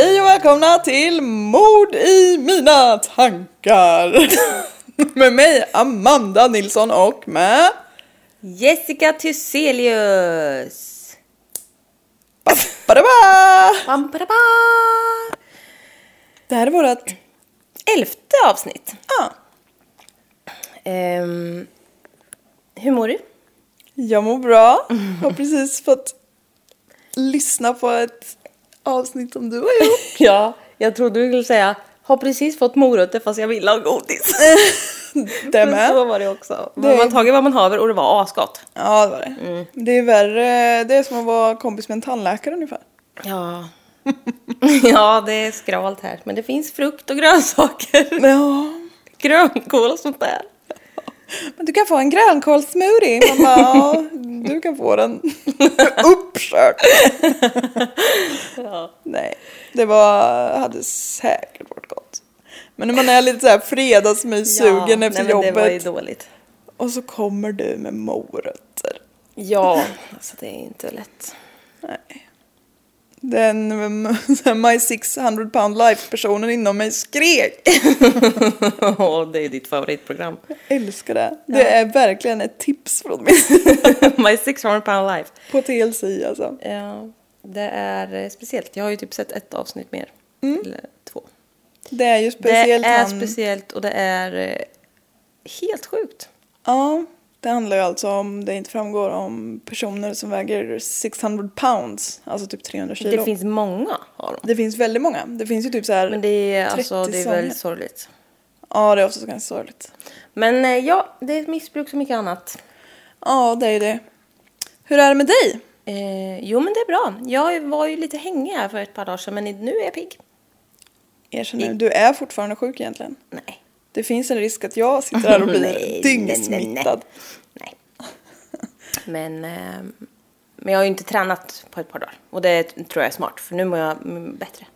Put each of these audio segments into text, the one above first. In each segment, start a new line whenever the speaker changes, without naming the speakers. välkomna till Mord i mina tankar! med mig Amanda Nilsson och med...
Jessica Thyselius!
Badaba!
Bam, ba, da, ba.
Det här är Ah, vårt...
Elfte avsnitt.
Ja,
Ehm, hur mår du?
jag mår bra. Har precis fått lyssna på ett avsnitt som du har gjort.
Ja, jag trodde du skulle säga har precis fått morötter fast jag ville ha godis.
Det
Men
med.
så var det också.
Det är-
Man har tagit vad man haver och det var asgott.
Ja, det var det.
Mm.
Det är värre. Det är som att vara kompis med en tandläkare ungefär.
Ja. ja, det är skralt här. Men det finns frukt och grönsaker.
Ja.
Grönkål och sånt där.
Men du kan få en grönkålssmoothie. Man bara, ja, du kan få den uppsökt.
Ja.
Nej, det var, hade säkert varit gott. Men när man är lite så här fredagsmyssugen
Ja,
efter
nej, men Det var ju
jobbet
dåligt.
och så kommer du med morötter.
Ja, alltså det är inte lätt.
Den mm, så här, my 600 pound life personen inom mig skrek.
Åh, det är ditt favoritprogram.
Jag älskar det. Det är verkligen ett tips från mig.
My 600 pound life.
På TLC alltså.
Ja, det är eh, speciellt. Jag har ju typ sett ett avsnitt mer. Eller två.
Det är ju Mm. speciellt
det är
han-
speciellt och det är eh, helt sjukt.
Ja, det handlar ju alltså om, det inte framgår, om personer som väger 600 pounds, alltså typ 300 kilo.
Det finns många av dem.
det finns väldigt många. Det finns ju typ så här...
Men det är,
30
alltså, det är
sånger.
väldigt sorgligt.
Ja, det är också ganska sorgligt.
Men eh, ja, det är ett missbruk som mycket annat.
Ja, det är det. Hur är det med dig?
Eh, jo, men det är bra. Jag var ju lite hängig här för ett par dagar sedan, men nu är jag pigg.
Erkänn nu, du är fortfarande sjuk egentligen.
Nej.
Det finns en risk att jag sitter här och blir
Nej, nej, nej,
dyngsmittad.
Nej. Men, eh, men jag har ju inte tränat på ett par dagar. Och det tror jag är smart, för nu mår jag mm, bättre.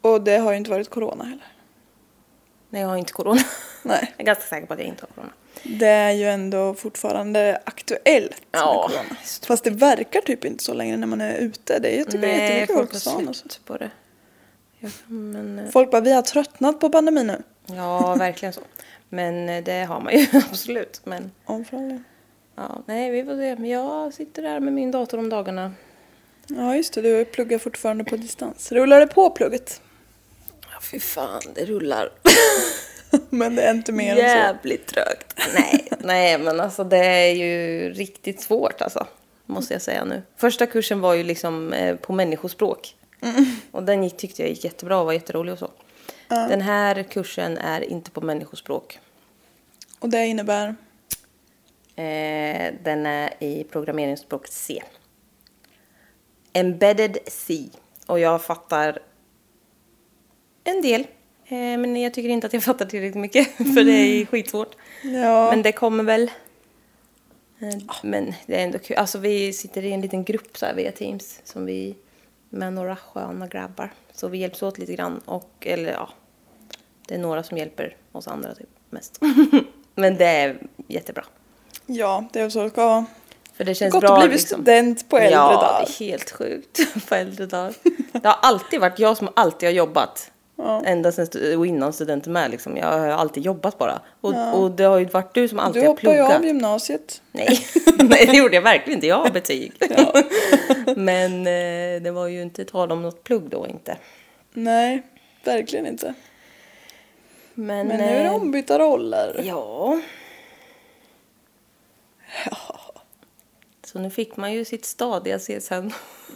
Och det har ju inte varit corona heller.
Nej, jag har inte corona.
Nej.
Jag är ganska säker på att jag inte har corona.
Det är ju ändå fortfarande aktuellt med
Ja,
corona.
det är så
Fast det verkar typ inte så längre när man är ute. Det är, jag tycker det är jättemycket folk på stan. och så.
slut på det. Ja, men, eh,
Folk bara, vi har tröttnat på pandemin nu.
ja, verkligen så. Men eh, det har man ju absolut. Men
Omfrånligen.
ja, nej, vi får se. Men Jag sitter där med min dator om dagarna.
Ja just det, du pluggar fortfarande på distans. Rullar det på plugget?
Ja, fy fan, det rullar.
Men det är inte mer än så.
Jävligt trögt. Nej, nej, men alltså det är ju riktigt svårt alltså. Måste jag säga nu. Första kursen var ju liksom eh, på människospråk. Och den gick, tyckte jag gick jättebra och var jätterolig och så. Den här kursen är inte på människospråk.
Och det innebär?
Eh, den är i programmeringsspråket C. Embedded C. Och jag fattar en del. Eh, men jag tycker inte att jag fattar tillräckligt mycket för det är skitsvårt.
Ja.
Men det kommer väl. Eh, Men det är ändå kul. Alltså vi sitter i en liten grupp så här via Teams som vi med några sköna grabbar. Så vi hjälps åt lite grann och eller ja, det är några som hjälper oss andra typ mest. men det är jättebra.
Ja, det är väl så det ska vara.
För det känns
Gott
bra liksom.
att bli student på äldre
ja,
dagar.
det är helt sjukt på äldre dagar. Det har alltid varit jag som alltid har jobbat.
Ja.
Ända sen stu- och innan studenten med liksom. Jag har alltid jobbat bara. Och, och det har ju varit du som alltid
Du
har
hoppar ju
pluggat.
av gymnasiet.
Nej. Nej, det gjorde jag verkligen inte. Jag har betyg. Men eh, det var ju inte tal om något plugg då inte.
Nej, verkligen inte.
Men,
Men nu är det
eh,
ombytta roller.
Ja. Så nu fick man ju sitt stadiga CSN.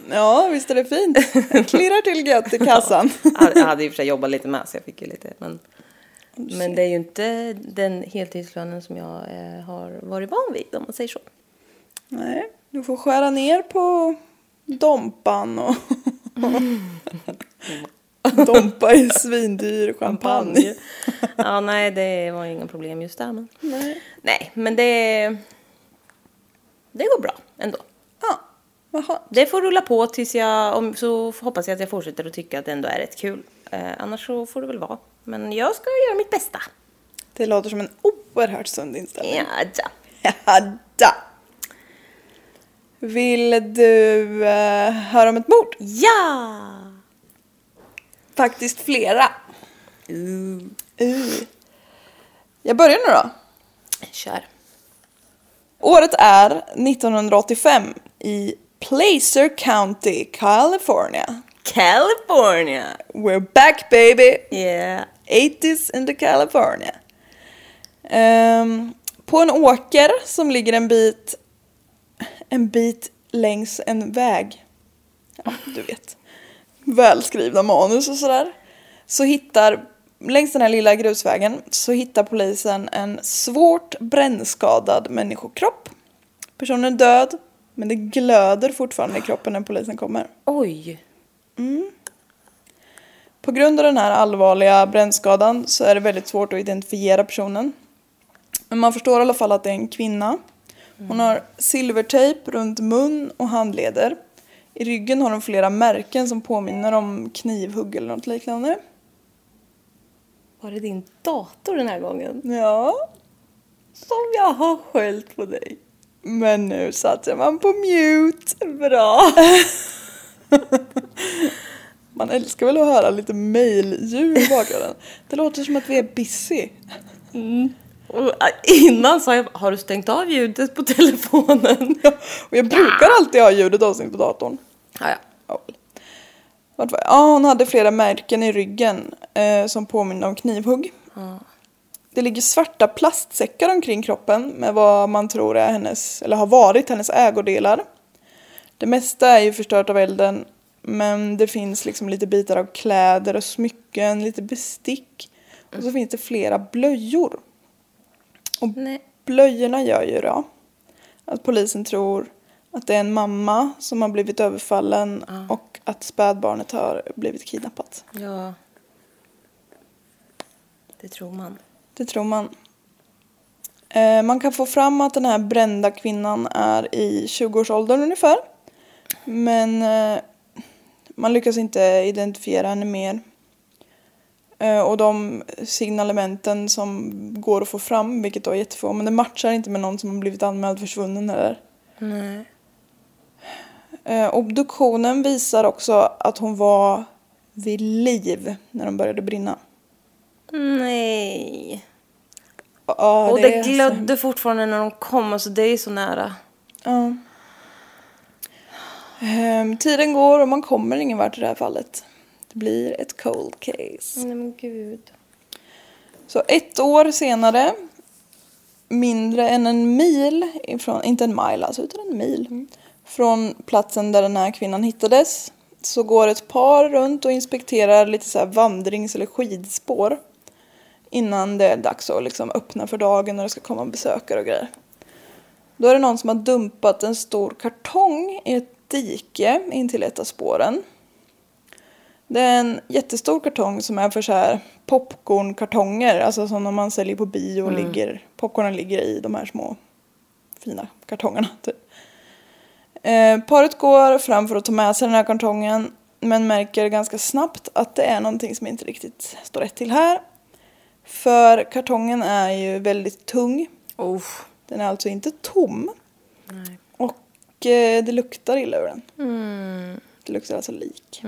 Ja, visst är det fint. Det klirrar till gött i kassan.
Jag hade i och för sig jobbat lite med så jag fick ju lite. Men, men det är ju inte den heltidslönen som jag eh, har varit van vid om man säger så.
Nej, du får skära ner på Dompan och... Dompa i svindyr champagne.
ja, nej det var ju inga problem just där. Men...
Nej.
Nej, men det... Det går bra ändå.
Ja, vad skönt.
Det får rulla på tills jag... Om, så hoppas jag att jag fortsätter att tycka att det ändå är rätt kul. Eh, annars så får det väl vara. Men jag ska göra mitt bästa.
Det låter som en oerhört sund inställning.
Ja, ja.
Jadda! Vill du eh, höra om ett mord?
ja! faktiskt flera.
Uh. Jag börjar nu då.
Kör.
Året är 1985 i Placer County, California.
California!
We're back baby!
Yeah.
80s in the California. Ehm, på en åker som ligger en bit, en bit längs en väg. Ja, du vet. Välskrivna manus och sådär. Så hittar, längs den här lilla grusvägen, så hittar polisen en svårt brännskadad människokropp. Personen är död, men det glöder fortfarande i kroppen när polisen kommer.
Oj.
På grund av den här allvarliga brännskadan så är det väldigt svårt att identifiera personen. Men man förstår i alla fall att det är en kvinna. Hon har silvertejp runt mun och handleder. I ryggen har hon flera märken som påminner om knivhugg eller något liknande.
Var det din dator den här gången?
Ja,
Som jag har skällt på dig.
men nu satte man på mute.
Bra.
Man älskar väl att höra lite mejlljud i bakgrunden. Det låter som att vi är busy.
Och eh, innan sa jag, har du stängt av ljudet på telefonen?
Ja, och jag brukar alltid ha ljudet avstängt på datorn.
Ja, ja.
Ja, väl. Vart var jag? Ja, hon hade flera märken i ryggen eh, som påminner om knivhugg. Det ligger svarta plastsäckar omkring kroppen med vad man tror är hennes, eller har varit hennes ägodelar. Det mesta är ju förstört av elden men det finns liksom lite bitar av kläder och smycken, lite bestick och så finns det flera blöjor. Och
Nej.
Blöjorna gör ju då att polisen tror att det är en mamma som har blivit överfallen och att spädbarnet har blivit kidnappat.
Ja. Det tror man.
Det tror man. Eh, man kan få fram att den här brända kvinnan är i 20-årsåldern ungefär. Men eh, man lyckas inte identifiera henne mer. Eh, och de signalementen som går att få fram, vilket då är jättefå, men det matchar inte med någon som har blivit anmäld försvunnen eller
Nej.
Eh, obduktionen visar också att hon var vid liv när de började brinna.
Nej.
Ja,
och det alltså-
är så-
glödde fortfarande när de kom, alltså det är så nära.
Ja. Ehm, tiden går och man kommer ingen vart i det här fallet. Det blir ett cold case.
Nej men gud.
Så ett år senare, mindre än en mil, ifrån, inte en mile alltså, utan en mil, från platsen där den här kvinnan hittades så går ett par runt och inspekterar lite så här vandrings eller skidspår innan det är dags att liksom öppna för dagen och det ska komma besökare och grejer. Då är det någon som har dumpat en stor kartong i ett dike intill ett av spåren. Det är en jättestor kartong som är för så här popcornkartonger, alltså som när man säljer på bio och ligger, popcornen ligger i de här små fina kartongerna. Typ. Eh, paret går fram för att ta med sig den här kartongen men märker ganska snabbt att det är någonting som inte riktigt står rätt till här. För kartongen är ju väldigt tung.
Oh.
Den är alltså inte tom
Nej.
och eh, det luktar illa ur den.
Mm,
Det luktar alltså lik.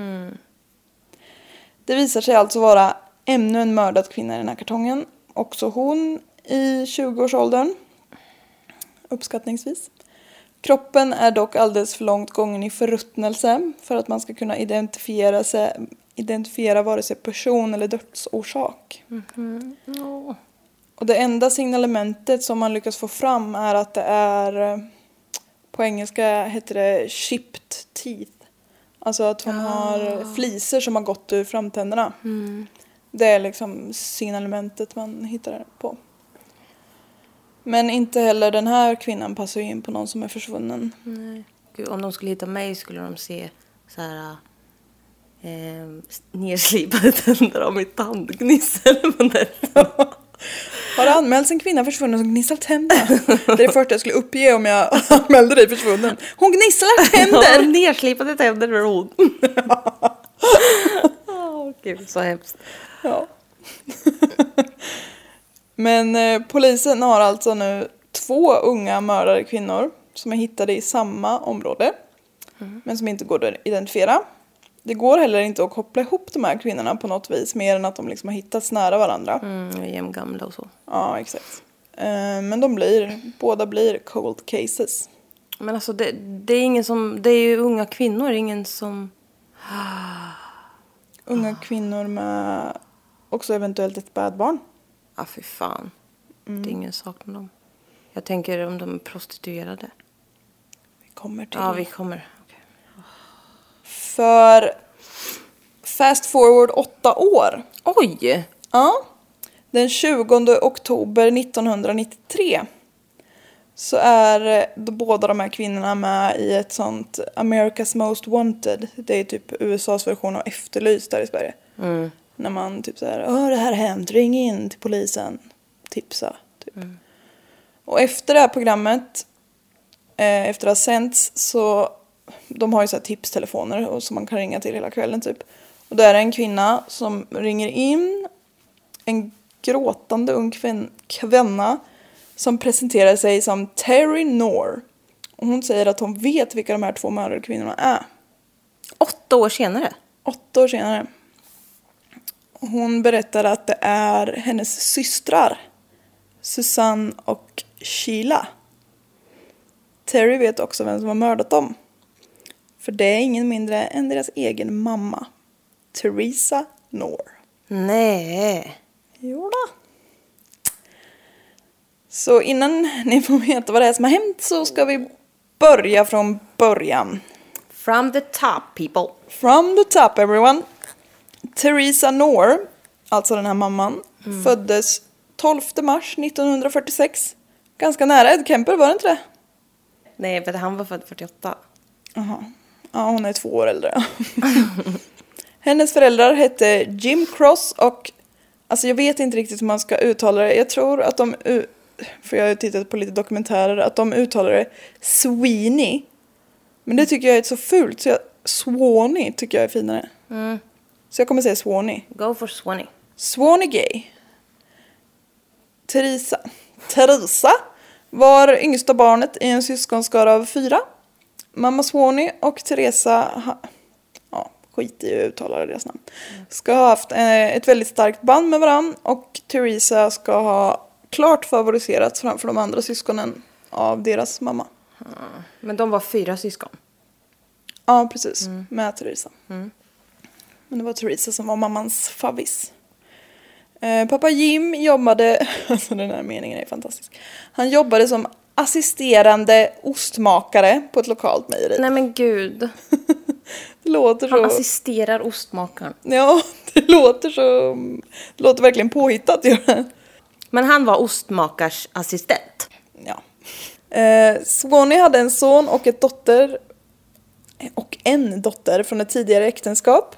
Det visar sig alltså vara ännu en mördad kvinna i den här kartongen. Också hon i 20-årsåldern. Uppskattningsvis. Kroppen är dock alldeles för långt gången i förruttnelse för att man ska kunna identifiera, sig, identifiera vare sig person eller dödsorsak.
mm,
Och det enda signalementet som man lyckas få fram är att det är eh, på engelska heter det chipped teeth. Alltså att hon har fliser som har gått ur framtänderna.
Mm,
Det är liksom signalementet man hittar på. Men inte heller den här kvinnan passar ju in på någon som är försvunnen.
Nej. Gud, om de skulle hitta mig skulle de se så här eh, nerslipade tänder av mitt tandgnissel på nätterna.
Har det anmälts en kvinna försvunnen som gnisslar tänder? Det är det första jag skulle uppge om jag anmälde dig försvunnen. Hon gnisslar
Ja,
tänder!
nerslipade tänder är hon. Åh, Gud, så hemskt.
Ja. Men eh, polisen har alltså nu två unga mördade
Mm.
kvinnor som är hittade i samma område. Men som inte går att identifiera. det går heller inte att koppla ihop de här kvinnorna på något vis mer än att de liksom har hittats nära varandra.
Mm, jämngamla och så.
Ja, exakt. Eh, Men de blir, båda blir cold cases.
Men alltså det, det är ingen som, det är ju unga kvinnor, ingen som... Ah.
Unga kvinnor med också eventuellt ett badbarn.
Ja, ah, fy fan. Det är ingen sak med dem. Jag tänker om de är prostituerade.
Vi kommer till.
Ja, vi kommer. Okej.
För fast forward åtta år.
Oj!
Ja. Den 20 oktober 1993 så är eh, de, båda de här kvinnorna med i ett sånt America's Most Wanted. Det är typ USAs version av Efterlyst här i Sverige.
Mm.
När man typ så här, Åh, det här har hänt, ring in till polisen, tipsa. Typ. Och efter det här programmet, eh, efter det har sänts, så de har ju så här tipstelefoner och som man kan ringa till hela kvällen typ. Och då är det en kvinna som ringer in en gråtande ung kvin- kvinna som presenterar sig som Terry Noor. Och hon säger att hon vet vilka de här två mördade kvinnorna är.
Åtta år senare?
Åtta år senare. Och Hon berättar att det är hennes systrar. Susanne och Sheila. Terry vet också vem som har mördat dem. För det är ingen mindre än deras egen mamma. Theresa Noor.
Nej.
Jodå. Så innan ni får veta vad det är som har hänt så ska vi börja från början.
From the top people.
From the top everyone. Theresa Noor, alltså den här mamman, föddes 12 mars 1946. Ganska nära Ed Kemper, var det inte det?
Nej, för han var född 48.
Jaha. Ja, hon är två år äldre. Hennes föräldrar hette Jim Cross och... Alltså jag vet inte riktigt hur man ska uttala det. Jag tror att de... u- För jag har ju tittat på lite dokumentärer. Att de uttalar det Sweeney. Men det tycker jag är så fult så jag... Swanee tycker jag är finare.
Mm.
Så jag kommer säga Swanee.
Go for Swanee.
Swanee Gay. Teresa. Teresa var yngsta barnet i en syskonskara av fyra. Mamma Swanee och Teresa, ha, ja, skit i att uttala deras namn, ska ha haft eh, ett väldigt starkt band med varandra och Teresa ska ha klart favoriserats framför de andra syskonen av deras mamma.
Men de var fyra syskon.
Ja, precis.
Mm.
Med Theresa. Men det var Theresa som var mammans favvis. Eh, pappa Jim jobbade, alltså den här meningen är fantastisk. Han jobbade som assisterande ostmakare på ett lokalt mejeri.
Nej men gud.
Det låter
Han
så...
assisterar ostmakaren.
Ja, det låter så... Det låter verkligen påhittat. Gör det.
Men han var ostmakars assistent.
Ja. Eh, Swanee hade en son och ett dotter och en dotter från ett tidigare äktenskap.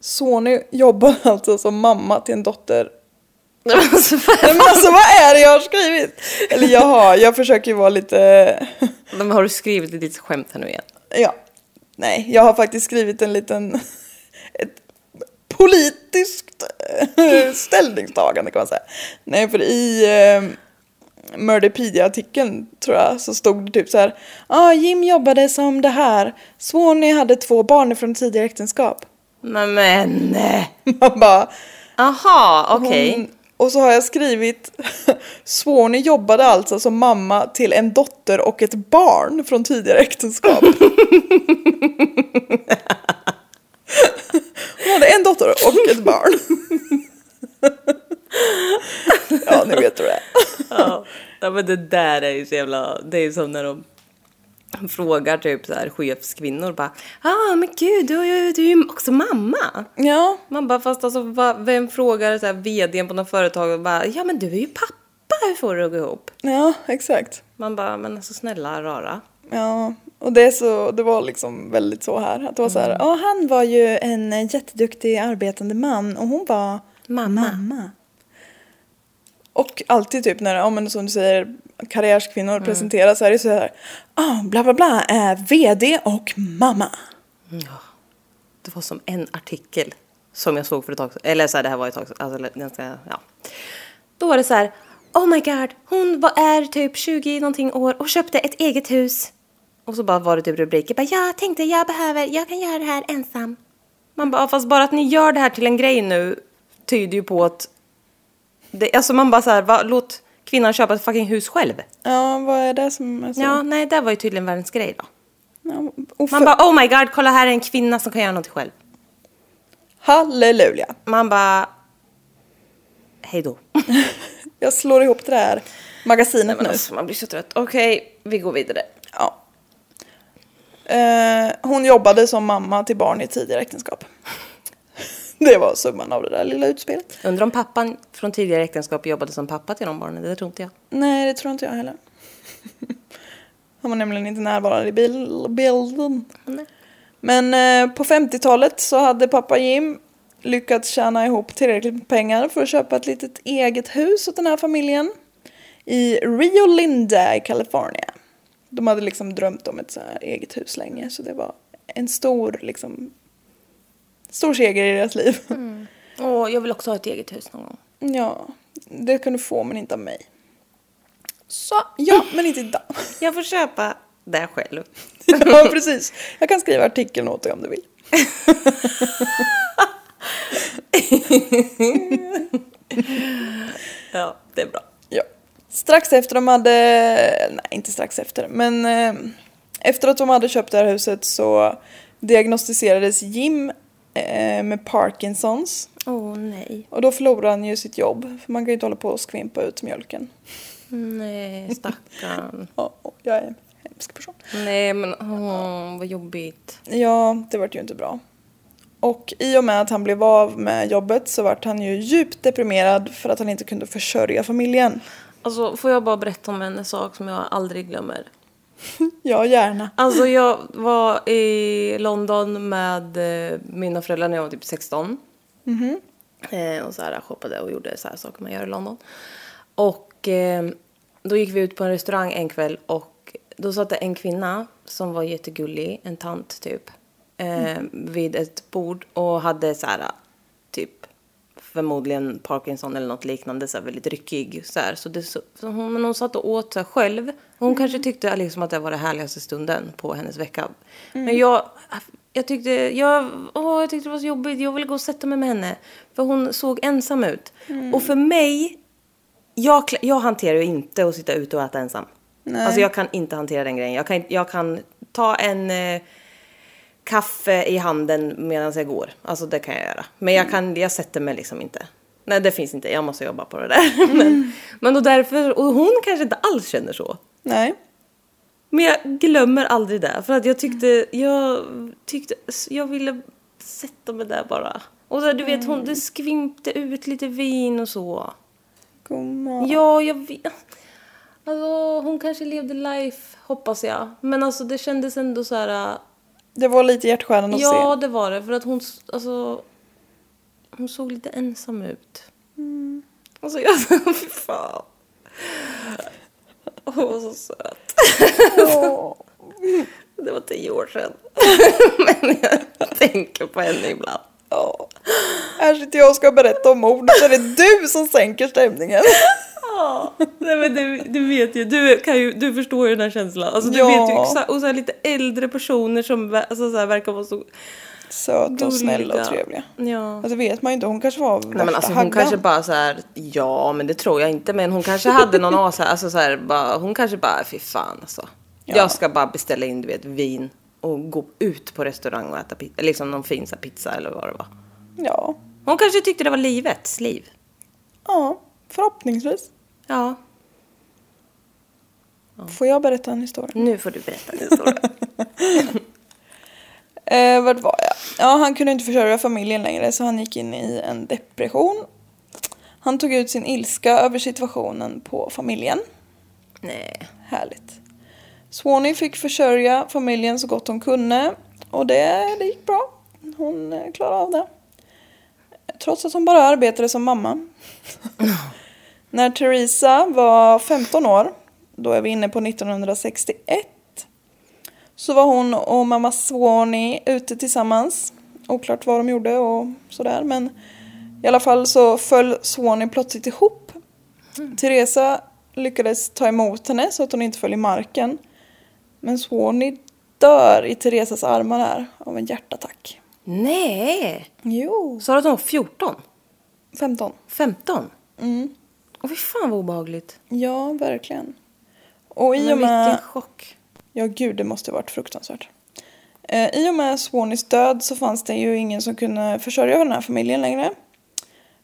Swanee jobbar alltså som mamma till en dotter.
Nej, men alltså, vad-
Men alltså vad är det jag har skrivit? Eller jag har, jag försöker ju vara lite...
Men har du skrivit ditt skämt här nu igen?
Ja. Nej, jag har faktiskt skrivit en liten... Ett politiskt eh, ställningstagande kan man säga. Nej, för i eh, Murderpedia-artikeln tror jag så stod det typ så här. ah, Jim jobbade som det här. Swanee hade två barn från tidigare äktenskap.
Nej men. nej.
Man bara...
Aha,
hon-
okej.
Och så har jag skrivit Swanee jobbade alltså som mamma till en dotter och ett barn från tidigare äktenskap. Hon hade en dotter och ett barn. ja, ni vet hur det är.
Ja. ja, men det där är ju så jävla... Det är ju som när de frågar typ så här chefskvinnor bara ah, men gud, du, du, du är ju också mamma.
Ja,
Man bara, fast alltså va, vem frågar så här vdn på något företag och bara ja men du är ju pappa, hur får du det att gå ihop?
ja, exakt.
Man bara, men alltså snälla rara.
Ja, och det, är så, det var liksom väldigt så här. Att det var så
Mm.
här, "Ja, han var ju en jätteduktig arbetande man och hon var
Mamma.
Och alltid typ när, ja men som du säger, karriärskvinnor
Mm.
presenteras så är det så här, ah, bla bla bla är vd och mamma.
Mm. Ja. Det var som en artikel som jag såg för ett tag sedan. Eller så här, det här var ett tag sedan. Alltså, eller ganska, ja. Då var det så här. Oh my god, hon var, är typ 20 någonting år och köpte ett eget hus. Och så bara var det typ rubriker. Bara, jag tänkte jag behöver, jag kan göra det här ensam. Man bara, fast bara att ni gör det här till en grej nu tyder ju på att... Det, alltså man bara så här, va, låt kvinnan köpa ett fucking hus själv.
Ja, vad är det som är så?
Ja, nej, det var ju tydligen världens grej då.
Ja, och
Man
för-
bara, oh my god, kolla här är en kvinna som kan göra någonting själv.
Halleluja!
Man bara... Hej då.
Jag slår ihop det här magasinet
Men
nu.
alltså, man blir så trött. Okej, vi går vidare.
Ja. Eh, hon jobbade som mamma till barn i tidigare äktenskap. Det var summan av det där lilla utspelet.
Undrar om pappan från tidigare äktenskap jobbade som pappa till de barnen. Det tror inte jag.
Nej, det tror inte jag heller. Han var nämligen inte närvarande i bil- bilden.
Nej.
Men eh, på 50-talet så hade pappa Jim lyckats tjäna ihop tillräckligt med pengar för att köpa ett litet eget hus åt den här familjen. I Rio Linda i Kalifornien. De hade liksom drömt om ett så här eget hus länge så det var en stor liksom stor seger i deras liv.
Åh, jag vill också ha ett eget hus någon gång.
Ja, det kan du få men inte av mig. Så, ja men inte idag.
Jag får köpa det själv.
ja precis. Jag kan skriva artikeln åt dig om du vill.
Ja, det är bra.
Ja. Strax efter de hade, nej inte strax efter, men eh, efter att de hade köpt det här huset så diagnostiserades Jim eh, med Parkinsons.
Åh nej.
Och då förlorade han ju sitt jobb, för man kan ju inte hålla på och skvimpa ut mjölken.
Nej, stackarn.
Ja, och jag är en hemsk person.
nej, men åh, vad jobbigt.
Ja, det vart ju inte bra. Och i och med att han blev av med jobbet så vart han ju djupt deprimerad för att han inte kunde försörja familjen.
Alltså, får jag bara berätta om en sak som jag aldrig glömmer?
Ja, gärna.
Alltså jag var i London med eh, mina föräldrar när jag var typ 16. Eh, och så här shoppade och gjorde så här saker man gör i London. Och eh, då gick vi ut på en restaurang en kväll och då satt det en kvinna som var jättegullig, en tant typ, eh, vid ett bord och hade så här typ förmodligen Parkinson eller något liknande, så här, väldigt ryckig. Så här. Så det, så, så hon, men hon satt och åt sig själv. Och Hon kanske tyckte liksom att det var den härligaste stunden på hennes vecka. Men jag, jag, tyckte, jag, åh, jag tyckte det var så jobbigt. Jag ville gå och sätta mig med henne. För hon såg ensam ut. Och för mig, jag, kla- jag hanterar ju inte att sitta ute och äta ensam.
Nej.
Alltså jag kan inte hantera den grejen. Jag kan, jag kan ta en... Eh, kaffe i handen medan jag går. Alltså det kan jag göra. Men jag, kan, jag sätter mig liksom inte. Nej det finns inte, jag måste jobba på det där. men men då därför, och hon kanske inte alls känner så.
Nej.
Men jag glömmer aldrig det. För att jag tyckte, jag tyckte, jag ville sätta mig där bara. Och så, du vet hon, det skvimpte ut lite vin och så.
Godmorgon.
Ja, jag vet. Alltså hon kanske levde life, hoppas jag. Men alltså det kändes ändå så här...
Det var lite hjärtskärande att
Ja,
se.
det var det. För att hon, s- alltså, hon såg lite ensam ut. Alltså jag, fy fan. Hon var så söt.
Åh.
Det var tio år sedan. Men jag tänker på henne ibland.
Ja. Här sitter jag och ska berätta om mord så är det du som sänker stämningen.
Ja, nej men du, du vet ju, du, kan ju, du förstår ju den här känslan. Alltså, du
Ja.
vet ju exakt, och så här lite äldre personer som vä- alltså, så här, verkar vara så
Söta och snälla
gulliga.
och trevliga.
Ja.
Alltså det vet man ju inte, hon kanske var värsta
Nej men alltså hon
haggan.
kanske bara så här, ja men det tror jag inte men hon kanske hade någon as alltså så här, bara, hon kanske bara, fy fan alltså.
Ja.
Jag ska bara beställa in du vet vin och gå ut på restaurang och äta pizza, liksom någon fin så här, pizza eller vad det var.
Ja.
Hon kanske tyckte det var livets liv.
Ja, förhoppningsvis.
Ja,
Får jag berätta en historia?
nu får du berätta din historia.
Eh, vart var jag? Ja, han kunde inte försörja familjen längre så han gick in i en depression. Han tog ut sin ilska över situationen på familjen.
Nej.
Härligt. Swanee fick försörja familjen så gott hon kunde och det, det gick bra. Hon eh, klarade av det. Trots att hon bara arbetade som mamma. När Theresa var 15 år, då är vi inne på 1961, så var hon och mamma Swanee ute tillsammans. Oklart vad de gjorde och sådär men i alla fall så föll Swanee plötsligt ihop Teresa lyckades ta emot henne så att hon inte föll i marken. Men Swanee dör i Teresas armar här av en hjärtattack.
Nej!
Jo.
Sa du att hon var 14?
15.
15?
Mm.
Åh fy fan vad obehagligt.
Ja, verkligen. Och i
Men
och
Vilken
med...
chock.
Ja, gud, det måste ha varit fruktansvärt. Eh, I och med Swanees död så fanns det ju ingen som kunde försörja den här familjen längre.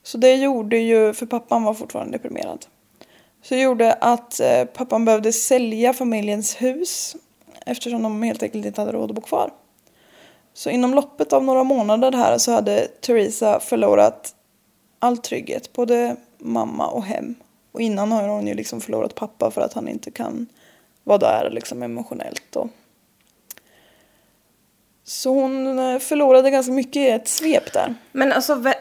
Så det gjorde ju, för pappan var fortfarande deprimerad. Så det gjorde att eh, pappan behövde sälja familjens hus eftersom de helt enkelt inte hade råd att bo kvar. Så inom loppet av några månader här så hade Teresa förlorat all trygghet, både mamma och hem. Och innan har hon ju liksom förlorat pappa för att han inte kan vara där liksom emotionellt. Och... Så hon eh, förlorade ganska mycket i ett svep där.
Men alltså... Vä-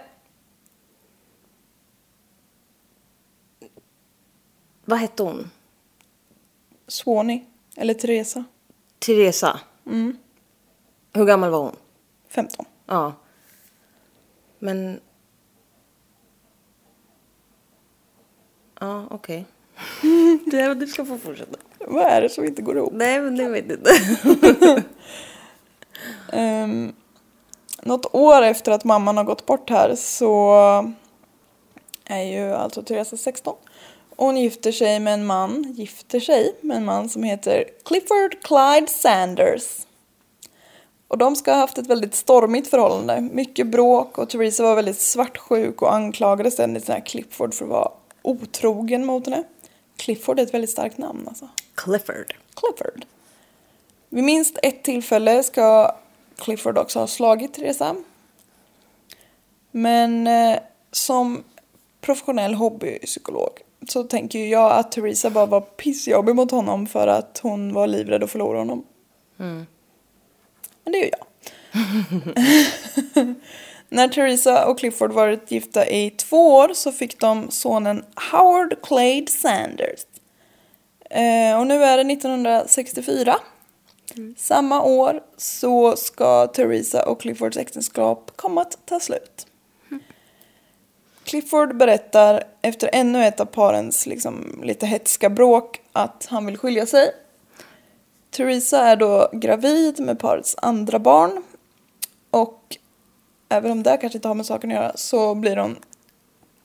vad hette hon?
Swanee, eller Teresa, Mm,
Teresa? Hur gammal var hon?
15.
Ja. Men... Ja, okej. du, du ska få fortsätta.
Vad är det som inte går ihop?
Nej, men det vet jag inte.
Um, något år efter att mamman har gått bort här så är ju alltså Teresa 16. Och hon gifter sig med en man, gifter sig med en man som heter Clifford Clyde Sanders. Och de ska ha haft ett väldigt stormigt förhållande. Mycket bråk och Teresa var väldigt svartsjuk och anklagade ständigt den här Clifford för att vara otrogen mot henne. Clifford är ett väldigt starkt namn alltså.
Clifford.
Clifford. Vid minst ett tillfälle ska Clifford också ha slagit Teresa. Men eh, som professionell hobbypsykolog så tänker ju jag att Teresa bara var pissjobbig mot honom för att hon var livrädd att förlora honom. Men det är ju jag. När Teresa och Clifford varit gifta i två år så fick de sonen Howard Clade Sanders. Eh, och nu är det 1964. Samma år så ska Teresa och Cliffords äktenskap komma att ta slut. Clifford berättar efter ännu ett av parens liksom, lite hetska bråk att han vill skilja sig. Teresa är då gravid med parets andra barn. Och även om det kanske inte har med saken att göra så blir hon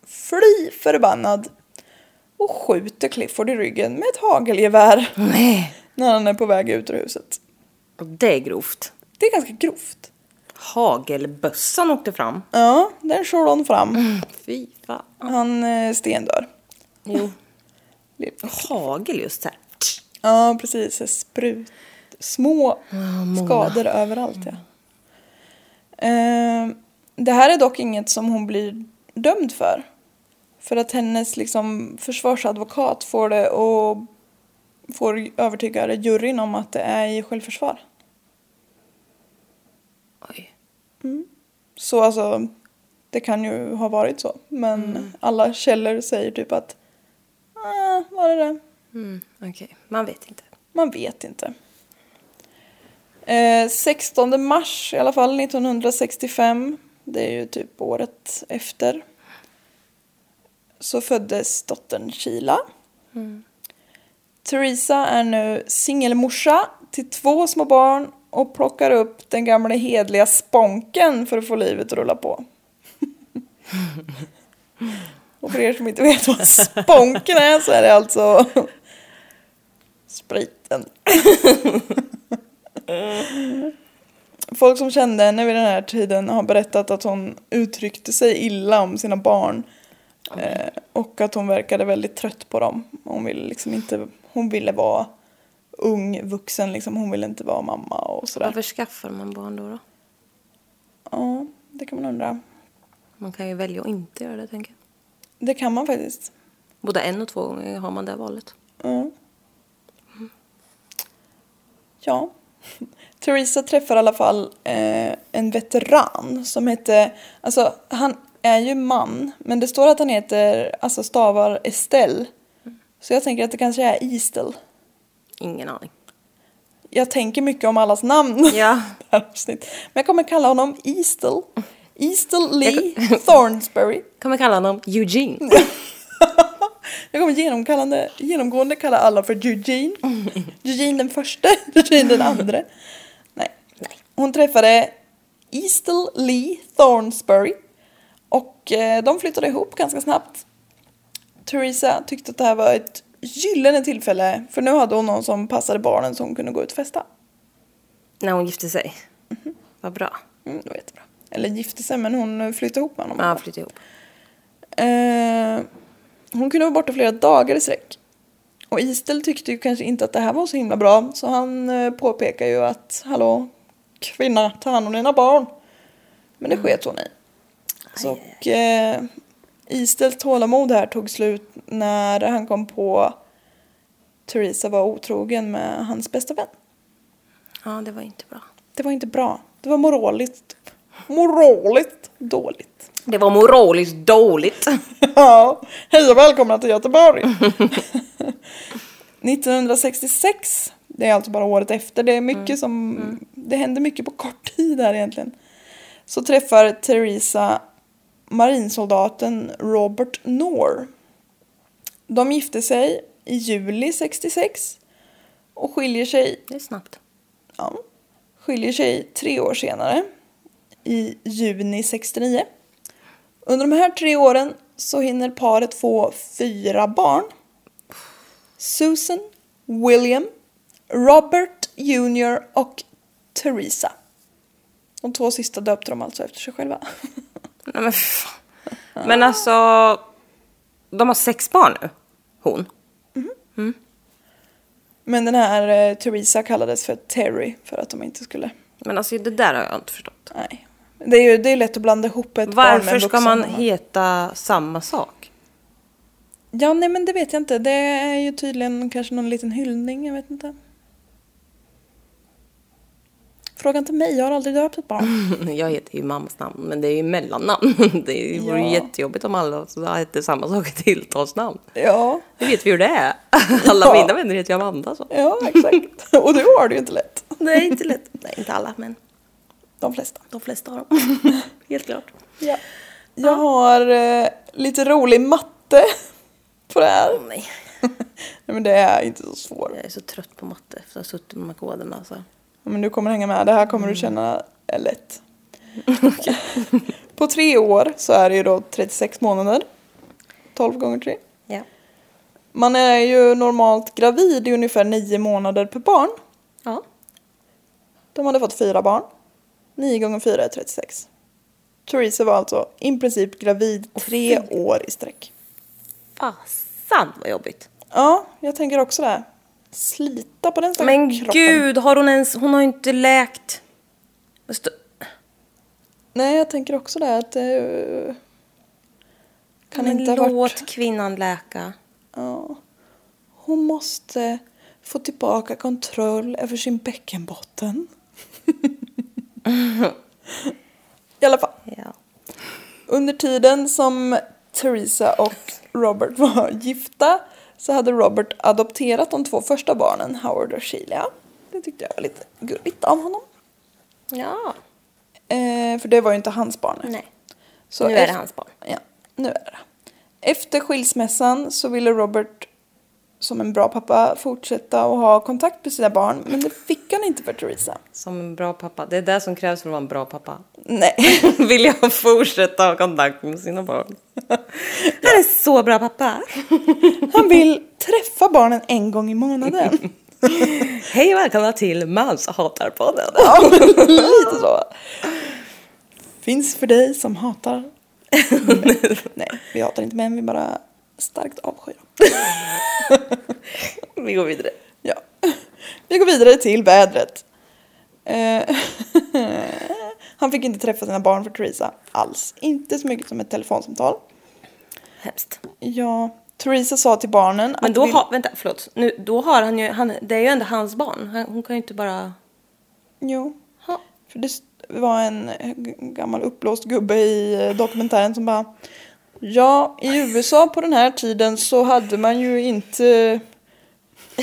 fly förbannad och skjuter Clifford i ryggen med ett hagelgevär
Nej.
när han är på väg ut ur huset.
Och det är grovt.
Det är ganska grovt.
Hagelbössan åkte fram.
Ja, den kör hon fram.
Fy fan.
Han eh, stendör.
Jo.
Det-
Hagel just här.
Ja, precis. Så Sprut. Små
Ah, många.
skador överallt, ja. Eh, det här är dock inget som hon blir dömd för. För att hennes liksom, försvarsadvokat får det och får övertyga juryn om att det är i självförsvar.
Oj.
Så alltså, det kan ju ha varit så. Men alla källor säger typ att ah, var det det?
Mm, Okej, man vet inte.
Man vet inte. Eh, 16 mars i alla fall 1965, det är ju typ året efter, så föddes dottern Sheila.
Mm.
Teresa är nu singelmorsa till två små barn och plockar upp den gamla hedliga sponken för att få livet att rulla på. och för er som inte vet vad sponken är så är det alltså spriten. Folk som kände henne vid den här tiden har berättat att hon uttryckte sig illa om sina barn. Eh, och att hon verkade väldigt trött på dem. Hon ville liksom inte, hon ville vara ung vuxen liksom. Hon ville inte vara mamma och sådär.
Varför skaffar man barn då, då?
Ja, det kan man undra.
Man kan ju välja att inte göra det, tänker jag.
Det kan man faktiskt.
Både en och två gånger har man det valet.
Mm. Ja. Teresa träffar i alla fall eh, en veteran som heter, alltså han är ju man, men det står att han heter, alltså stavar Estelle. Så jag tänker att det kanske är Istel.
Ingen aning.
Jag tänker mycket om allas namn.
Ja.
i det här avsnittet. Men jag kommer kalla honom Istel. Istel Lee Thornsberry.
Kommer kalla honom Eugene.
Jag kommer genomkallande, genomgående kalla alla för Eugene. Eugene den första, Eugene den andra. Nej.
Nej.
Hon träffade Eastel Lee Thornsbury. Och eh, de flyttade ihop ganska snabbt. Theresa tyckte att det här var ett gyllene tillfälle. För nu hade hon någon som passade barnen så hon kunde gå ut och festa.
När hon gifte sig. Vad bra.
Mm, det var jättebra. Eller gifte sig men hon flyttade ihop med honom.
Ja, flyttade ihop.
Eh, hon kunde vara borta flera dagar i sträck. Och Istel tyckte ju kanske inte att det här var så himla bra så han eh, påpekar ju att hallå kvinna, ta hand om dina barn. Men det sket hon i. Så och, eh, Istels tålamod här tog slut när han kom på Theresa var otrogen med hans bästa vän.
Ja, det var inte bra.
Det var inte bra. Det var moraliskt. Moraliskt dåligt.
Det var moraliskt dåligt.
Ja, hej och välkomna till Göteborg! 1966, det är alltså bara året efter, det är mycket som, det händer mycket på kort tid här egentligen. Så träffar Theresa marinsoldaten Robert Knorr. De gifte sig i juli 66 och skiljer sig
Det är snabbt.
ja, skiljer sig tre år senare, i juni 69. Under de här tre åren så hinner paret få fyra barn. Susan, William, Robert Jr och Theresa. De två sista döpte de alltså efter sig själva.
Nej, men, fan. men alltså, de har sex barn nu. Hon.
Men den här eh, Theresa kallades för Terry för att de inte skulle...
Men alltså det där har jag inte förstått.
Nej. Det är ju det är lätt att blanda ihop ett barn med
Varför
en
ska
vuxen
man
mamma.
heta samma sak?
Ja, nej men det vet jag inte. Det är ju tydligen kanske någon liten hyllning, jag vet inte. Fråga inte mig, jag har aldrig döpt ett barn.
Jag heter ju mammas namn, men det är ju mellannamn. Det vore ju
Ja.
jättejobbigt om alla så där hette samma sak i tilltalsnamn.
Ja,
Det vet vi hur det är. Alla
Ja.
mina vänner heter ju Amanda. Så.
ja exakt. Och du har det ju inte lätt.
Nej, inte lätt. Nej, inte alla, men
De flesta.
de flesta har dem. Helt klart.
Ja. Jag har eh, lite rolig matte på det här.
Åh, nej.
Nej men det är inte så svårt.
Jag är så trött på matte efter att ha suttit med de här koderna. Alltså.
Men du kommer hänga med, det här kommer du känna är lätt. På tre år så är det ju då 36 månader. 12 gånger 3.
Ja.
Man är ju normalt gravid i ungefär nio månader per barn.
ja.
De hade fått fyra barn. Nio gånger fyra är 36. Theresa var alltså i princip gravid tre år i sträck.
Fasan vad jobbigt.
Ja, jag tänker också det. här. Slita på den stackars
Men
kroppen.
gud, har hon ens... Hon har ju inte läkt... Stå-
Nej, jag tänker också det. här Att, eh, kan
Men
inte ha
låt
varit...
kvinnan läka.
Ja. Hon måste få tillbaka kontroll över sin bäckenbotten. I alla fall.
Ja.
Under tiden som Theresa och Robert var gifta så hade Robert adopterat de två första barnen, Howard och Sheila. Det tyckte jag var lite gulligt av honom.
Ja.
Eh, för det var ju inte hans barn.
Nej.
Så
Nu är det
eft-
hans barn.
Ja, nu är det det. Efter skilsmässan så ville Robert som en bra pappa fortsätta och ha kontakt med sina barn men det fick han inte för Theresa.
Som en bra pappa. Det är det som krävs för att vara en bra pappa.
Nej.
Vill jag fortsätta ha kontakt med sina barn. Han är så bra pappa.
Han vill träffa barnen en gång i månaden.
Hej och välkomna till Mans hatar-podden.
Ja, men lite så. Finns för dig som hatar. män. Nej, vi hatar inte män, vi bara starkt avskyr dem.
Vi går vidare.
Ja. Vi går vidare till vädret. Eh, Han fick inte träffa sina barn för Theresa alls. Inte så mycket som ett telefonsamtal.
Hemskt.
Ja, Theresa sa till barnen
Men
att
då
vi-
har, vänta, förlåt. Nu, då har han ju, han, det är ju ändå hans barn. Han, hon kan ju inte bara...
Jo.
Ha.
För det st- var en eh, g- gammal uppblåst gubbe i eh, dokumentären som bara Ja, i USA på den här tiden så hade man ju inte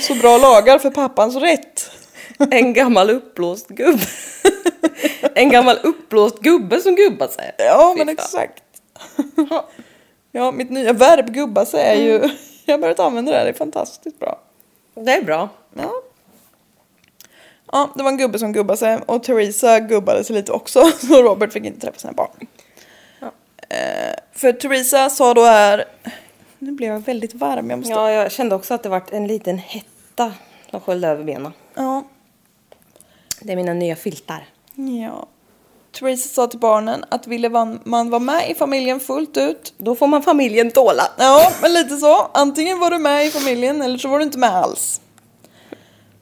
så bra lagar för pappans rätt.
En gammal uppblåst gubbe. En gammal uppblåst gubbe som gubbar sig.
Ja,
Fy
men
fan. Mm.
exakt. Ja, mitt nya verb gubba sig är ju Jag har börjat använda det här, det är fantastiskt bra.
Det är bra.
Ja. Ja, det var en gubbe som gubbade sig och Theresa gubbade sig lite också så Robert fick inte träffa sina barn.
Ja.
Eh, för Theresa sa då här... Nu blev jag väldigt varm, jag måste...
Ja, jag kände också att det vart en liten hetta som sköljde över benen.
Ja.
Det är mina nya filtar.
ja. Theresa sa till barnen att ville van- man vara med i familjen fullt ut
Då får man familjen tåla.
Ja, men lite så. Antingen var du med i familjen eller så var du inte med alls.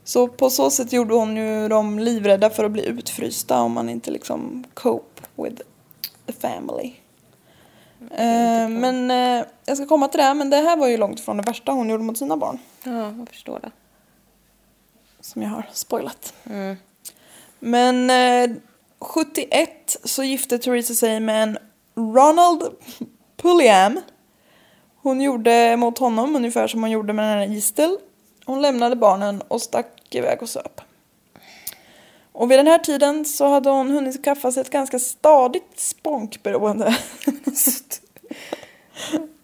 Så på så sätt gjorde hon ju dem livrädda för att bli utfrysta om man inte liksom cope with the family. Eh, men eh, jag ska komma till det, här, men det här var ju långt ifrån det värsta hon gjorde mot sina barn.
Ja, jag förstår det.
Som jag har spoilat.
Mm.
Men eh, 71 så gifte Theresa sig med en Ronald Pulliam. Hon gjorde mot honom ungefär som hon gjorde med den här Eastel. Hon lämnade barnen och stack iväg och söp. Och vid den här tiden så hade hon hunnit skaffa sig ett ganska stadigt spånkberoende.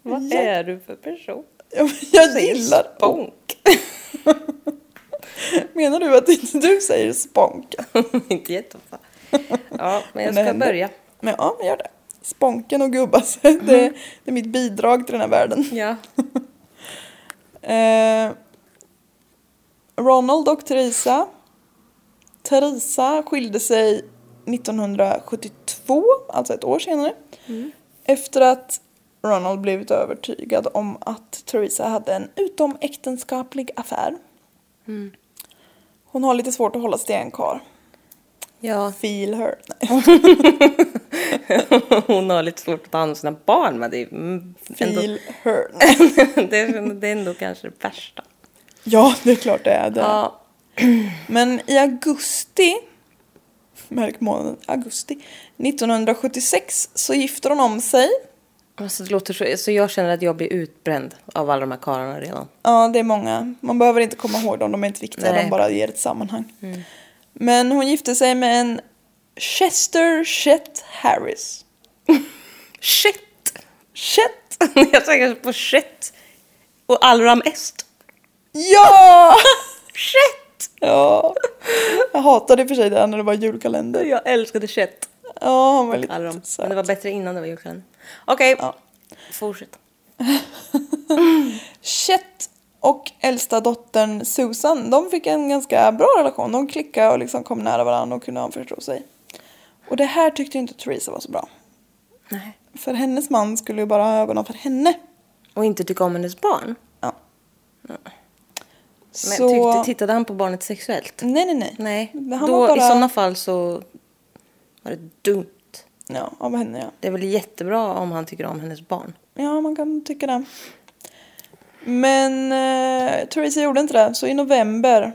Vad
Ja.
är du för person?
Jag- Jag gillar
Bonk.
Menar du att inte du säger spånk?
Inte jätteofta. Ja, men jag
Det
ska
händer.
börja.
Men ja, men gör det. Spånken och gubbas, det, det är mitt bidrag till den här världen.
Ja.
Eh, Ronald och Theresa. Theresa skilde sig 1972, alltså ett år senare.
Mm.
Efter att Ronald blivit övertygad om att Theresa hade en utomäktenskaplig affär.
Mm.
Hon har lite svårt att hålla stenkar.
ja.
Feel her.
Hon har lite svårt att ta hand om sina barn, men det är, mm, ändå,
Feel her.
det är, det är ändå kanske det värsta.
Ja, det är klart det är det.
Ja.
Men i augusti, märk månaden, augusti 1976 så gifter hon om sig.
Alltså, det låter så, så jag känner att jag blir utbränd av alla de här karlarna redan.
Ja, det är många. Man behöver inte komma ihåg dem, de är inte viktiga,
Nej. Mm.
de bara ger ett sammanhang. Men hon gifte sig med en Chester Chet Harris.
Shit!
Chet?
Jag tänker på shit och Allram Est.
Ja!
Shit!
ja! Jag hatade i och för sig det här när det var julkalender.
Jag älskade shit.
Ja, han var
Allram.
lite
Men
söt.
det var bättre innan det var julkalender. Okej,
Ja.
fortsätt.
Chet och äldsta dottern Susan, de fick en ganska bra relation. De klickade och liksom kom nära varandra och kunde anförtro sig. Och det här tyckte inte Theresa var så bra.
Nej.
För hennes man skulle ju bara ha ögonen för henne.
Och inte tycka om hennes barn.
Ja.
Men
så...
tyckte, tittade han på barnet sexuellt?
Nej, nej, nej.
Nej.
Men han
Då,
var bara-
I sådana fall så var det dumt.
Ja, av henne ja.
Det är väl jättebra om han tycker om hennes barn.
Ja, man kan tycka det. Men eh, Theresa gjorde inte det, så i november...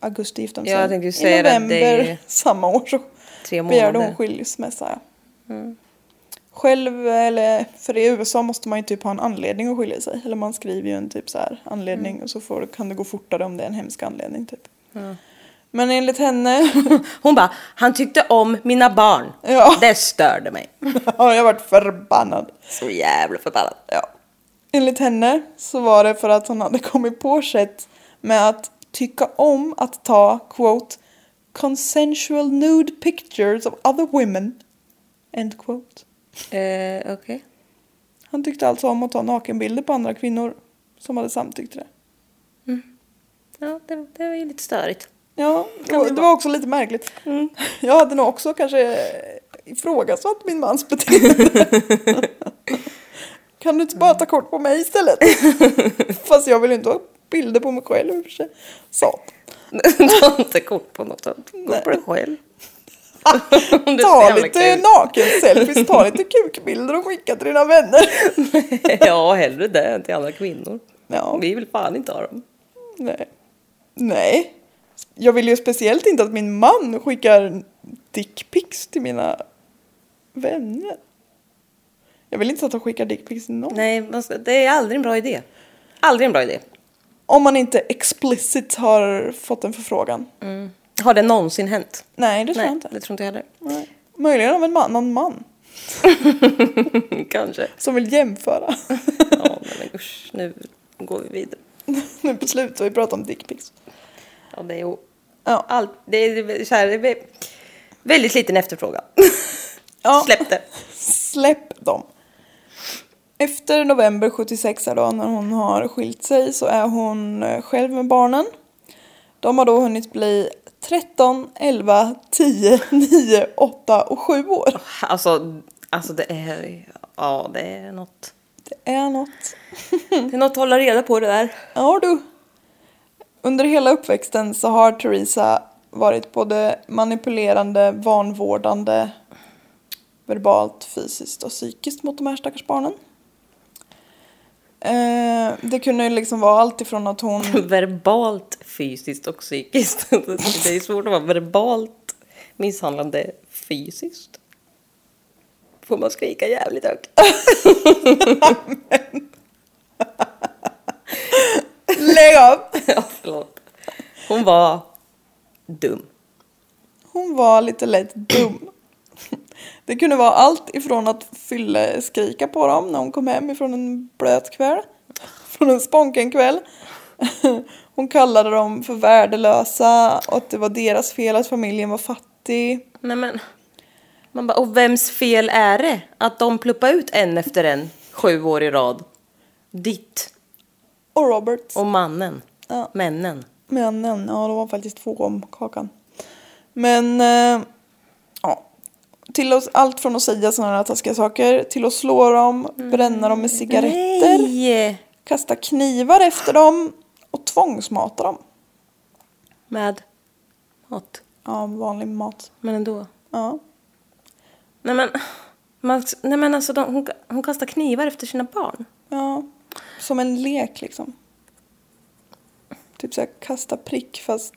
Augusti gifte de
Ja, jag tänkte ju säga
I
det, det är
november
ju-
samma år så
Tre
begärde hon
månader. Mm.
skilsmässa. ja. Själv, eller för i USA måste man ju typ ha en anledning att skilja sig. Eller man skriver ju en typ så här anledning och så får, kan det gå fortare om det är en hemsk anledning typ. Men enligt henne,
Hon bara, han tyckte om mina barn.
Ja.
Det störde mig.
ja, jag varit förbannad.
Så jävla förbannad.
Ja. Enligt henne så var det för att hon hade kommit på sätt med att tycka om att ta quote consensual nude pictures of other women. End quote.
Eh, Okej.
Han tyckte alltså om att ta nakenbilder på andra kvinnor som hade samtyckt till det.
Ja, det, det var ju lite störigt.
Ja, det var, det var också lite märkligt.
Mm.
Jag hade nog också kanske ifrågasatt min mans beteende. kan du inte bara ta kort på mig istället? Fast jag vill ju inte ha bilder på mig själv i och för sig. Satan.
Ta inte kort på något sånt. Gå på dig själv. Det är så
Ta
jävla
lite
kul.
naken-selfies, ta lite kukbilder och skicka till dina vänner.
ja, hellre det än till andra kvinnor.
Ja.
Vi vill fan inte ha dem.
Nej. Nej. Jag vill ju speciellt inte att min man skickar dickpics till mina vänner. Jag vill inte att han skickar dickpics till någon.
Nej, man ska, det är aldrig en bra idé. Aldrig en bra idé.
Om man inte explicit har fått en förfrågan.
Mm. Har det någonsin hänt?
Nej, det tror
Nej,
jag inte.
det tror inte jag heller.
Nej. Möjligen av en man, någon man.
Mm, Kanske.
Som vill jämföra.
Ja, nej, men usch. Nu går vi vidare.
nu beslutar vi prata om dickpics.
Ja, det är ju...
Ja.
Allt, det är, så här, det är väldigt liten efterfrågan.
Ja.
Släpp det.
Släpp dem. Efter november 76 här då, när hon har skilt sig så är hon eh, själv med barnen. De har då hunnit bli 13, 11, 10, 9, 8 och 7 år.
Alltså, alltså det är... Ja, det är något.
Det är något.
Det är något att hålla reda på det där.
Ja du. Under hela uppväxten så har Teresa varit både manipulerande, vanvårdande, verbalt, fysiskt och psykiskt mot de här stackars barnen. Eh, det kunde ju liksom vara allt ifrån att hon...
Verbalt, fysiskt och psykiskt. Det är svårt att vara verbalt misshandlande fysiskt. Får man skrika jävligt högt?
Lägg av!
Ja, förlåt. Hon var dum.
Hon var lite lätt dum. Det kunde vara allt ifrån att fylle skrika på dem när hon kom hem ifrån en blöt kväll. Från en sponken kväll. Hon kallade dem för värdelösa och att det var deras fel att familjen var fattig.
Nej men. Man bara, och vems fel är det att de pluppar ut en efter en sju år i rad? Ditt
Och Roberts.
och mannen.
Ja.
Männen.
Männen, ja de var faktiskt två om kakan. Men, eh, ja. Till oss, allt från att säga sådana här taskiga saker till att slå dem, bränna dem med cigaretter.
Mm. Nej!
kasta knivar efter dem och tvångsmata dem.
Med mat.
Ja, vanlig mat.
Men ändå.
Ja.
Nej men. Man, nej men alltså de, hon, hon kastar knivar efter sina barn.
ja. Som en lek liksom. Typ såhär kasta prick fast...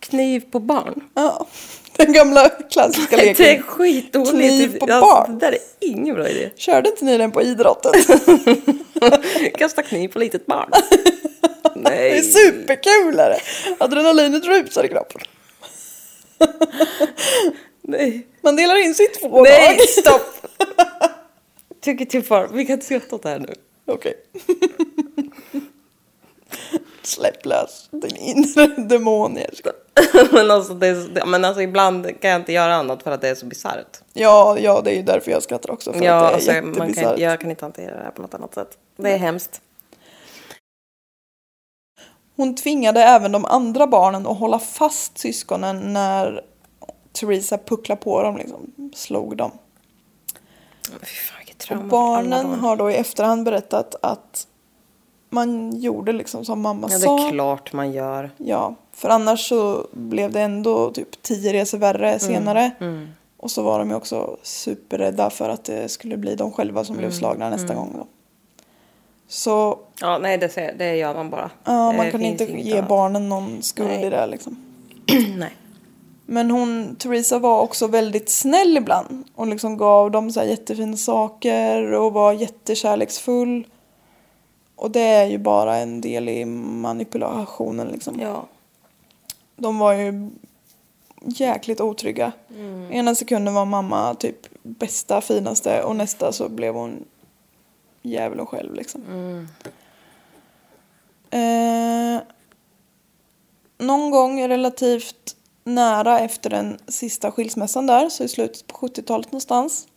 Kniv på barn.
Ja. Den gamla klassiska
Det är
leken.
skitdåligt.
Kniv på
Alltså,
barn.
Det där är ingen bra idé.
Körde inte ni den på idrotten?
Kasta kniv på litet barn.
Det är
Nej.
superkul är det. Adrenalinet rusar i kroppen.
Nej.
Man delar in sig i två
Nej,
lag.
stopp! Tycker till far. Vi kan inte skratta åt det här nu.
Okej. Släpp lös din inre demon. Jessica.
men, alltså, det är, så- det- men alltså ibland kan jag inte göra annat för att det är så bisarrt.
Ja, ja, det är ju därför jag skrattar också. För
Ja,
att det
alltså,
är
man
jättebisarrt.
kan, jag kan inte hantera det här på något annat sätt. Det är hemskt.
Hon tvingade även de andra barnen att hålla fast syskonen när Teresa pucklade på dem, liksom, slog dem.
Fy fan vilket
Och
trauma. för alla
barnen
barn.
har då i efterhand berättat att man gjorde liksom som mamma
Ja, det
sa.
är klart man gör.
Ja, för annars så blev det ändå typ tio resor värre
Mm,
senare. Och så var de ju också superrädda för att det skulle bli de själva som
Mm,
blev slagna nästa gång. Då. Så
Ja, nej, det, ser- det gör man bara.
ja, man
Det
kan
Eh, finns
inte
inget
ge
annat.
barnen någon skuld i
Nej.
det här, liksom.
nej.
Men hon, Teresa var också väldigt snäll ibland och liksom gav dem så här jättefina saker och var jättekärleksfull. Och det är ju bara en del i manipulationen liksom.
Ja.
De var ju jäkligt otrygga.
Mm.
Ena sekunden var mamma typ bästa, finaste och nästa så blev hon djävulen själv liksom.
Mm.
Eh, någon gång relativt nära efter den sista skilsmässan där, så i slutet på 70-talet någonstans,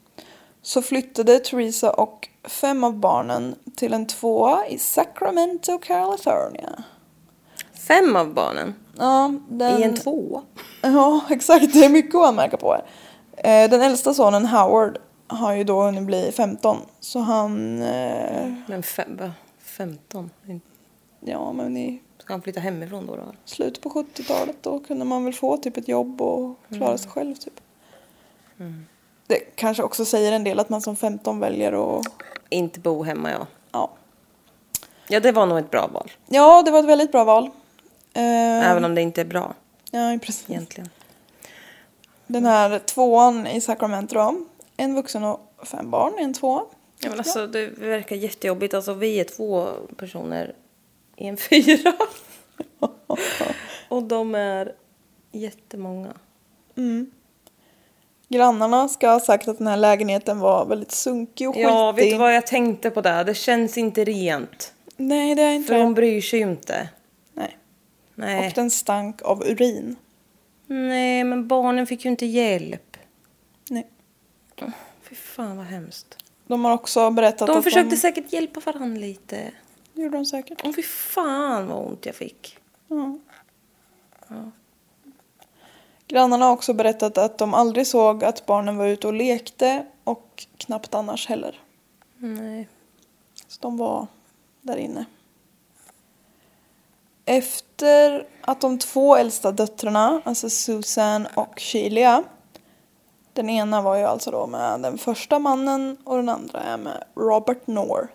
så flyttade Teresa och fem av barnen till en tvåa i Sacramento, California.
Fem av barnen
Ja, den...
i en tvåa.
Ja, exakt. Det är mycket att anmärka på här. Eh, Den äldsta sonen Howard har ju då hunnit bli 15. Så han... eh,
Men fem, va? 15?
Ja, men i
Ska han flytta hemifrån då? då?
slutet på 70-talet då kunde man väl få typ ett jobb och klara
Mm.
sig själv typ. Det kanske också säger en del att man som 15 väljer att...
Inte bo hemma, ja.
Ja.
Ja, det var nog ett bra val.
ja, det var ett väldigt bra val. Eh,
Även om det inte är bra
Ja, precis.
egentligen.
Den här tvåan i Sacramento då. En vuxen och fem barn i en tvåa.
Ja, men alltså, det verkar jättejobbigt. Alltså, vi är två personer i en fyra. Och de är jättemånga.
Mm. Grannarna ska ha sagt att den här lägenheten var väldigt sunkig och skitig.
Ja, vet du vad jag tänkte på där? Det känns inte rent.
Nej, det är inte
För
det.
hon bryr sig ju inte.
Nej.
Nej.
Och den stank av urin.
Nej, men barnen fick ju inte hjälp.
Nej.
Fy fan vad hemskt.
De har också berättat
De
att
försökte
de...
säkert hjälpa varandra lite.
Det gjorde de säkert.
Åh fy fan vad ont jag fick.
Ja.
Ja.
Grannarna har också berättat att de aldrig såg att barnen var ute och lekte och knappt annars heller.
Nej.
Så de var där inne. Efter att de två äldsta döttrarna, alltså Susan och Shelia, den ena var ju alltså då med den första mannen och den andra är med Robert Knorr.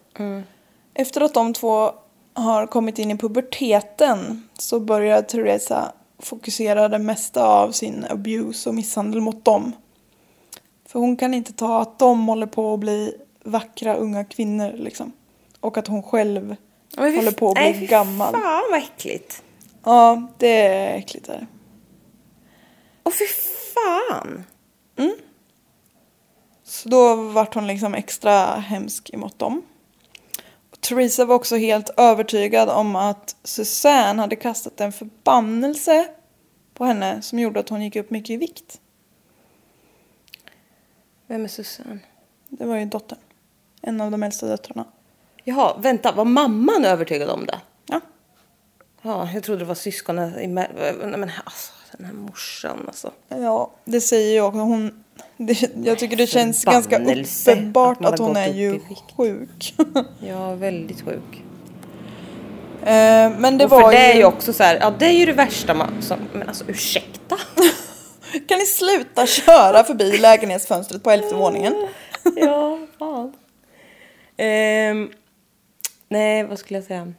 Efter att de två har kommit in i puberteten så börjar Teresa fokusera det mesta av sin abuse och misshandel mot dem. För hon kan inte ta att de håller på att bli vackra unga kvinnor liksom. Och att hon själv
Ja, men fy-
håller på att bli
nej, fy
gammal.
fan vad äckligt.
Ja, det är äckligt där.
Åh fy fan.
Så då vart hon liksom extra hemsk emot dem. Och Theresa var också helt övertygad om att Suzanne hade kastat en förbannelse på henne som gjorde att hon gick upp mycket i vikt.
Vem är Susanne?
Det var ju dottern. En av de äldsta döttrarna.
Jaha, vänta, var mamman övertygad om det?
Ja.
Ja, jag trodde det var syskonen. i- Nej men alltså, den här morsan alltså.
Ja, det säger jag också. Hon, det, jag tycker det känns ganska
Förbannelse att
uppenbart
man har
att hon
gått
är
upp i
ju
vikt.
sjuk.
Ja, väldigt sjuk.
Eh, Men det
och för
var
det är ju
ju...
också så här, ja det är ju det värsta man som, men alltså ursäkta?
Kan ni sluta köra förbi lägenhetsfönstret på elfte våningen?
ja, fan. Ehm, nej, vad skulle jag säga?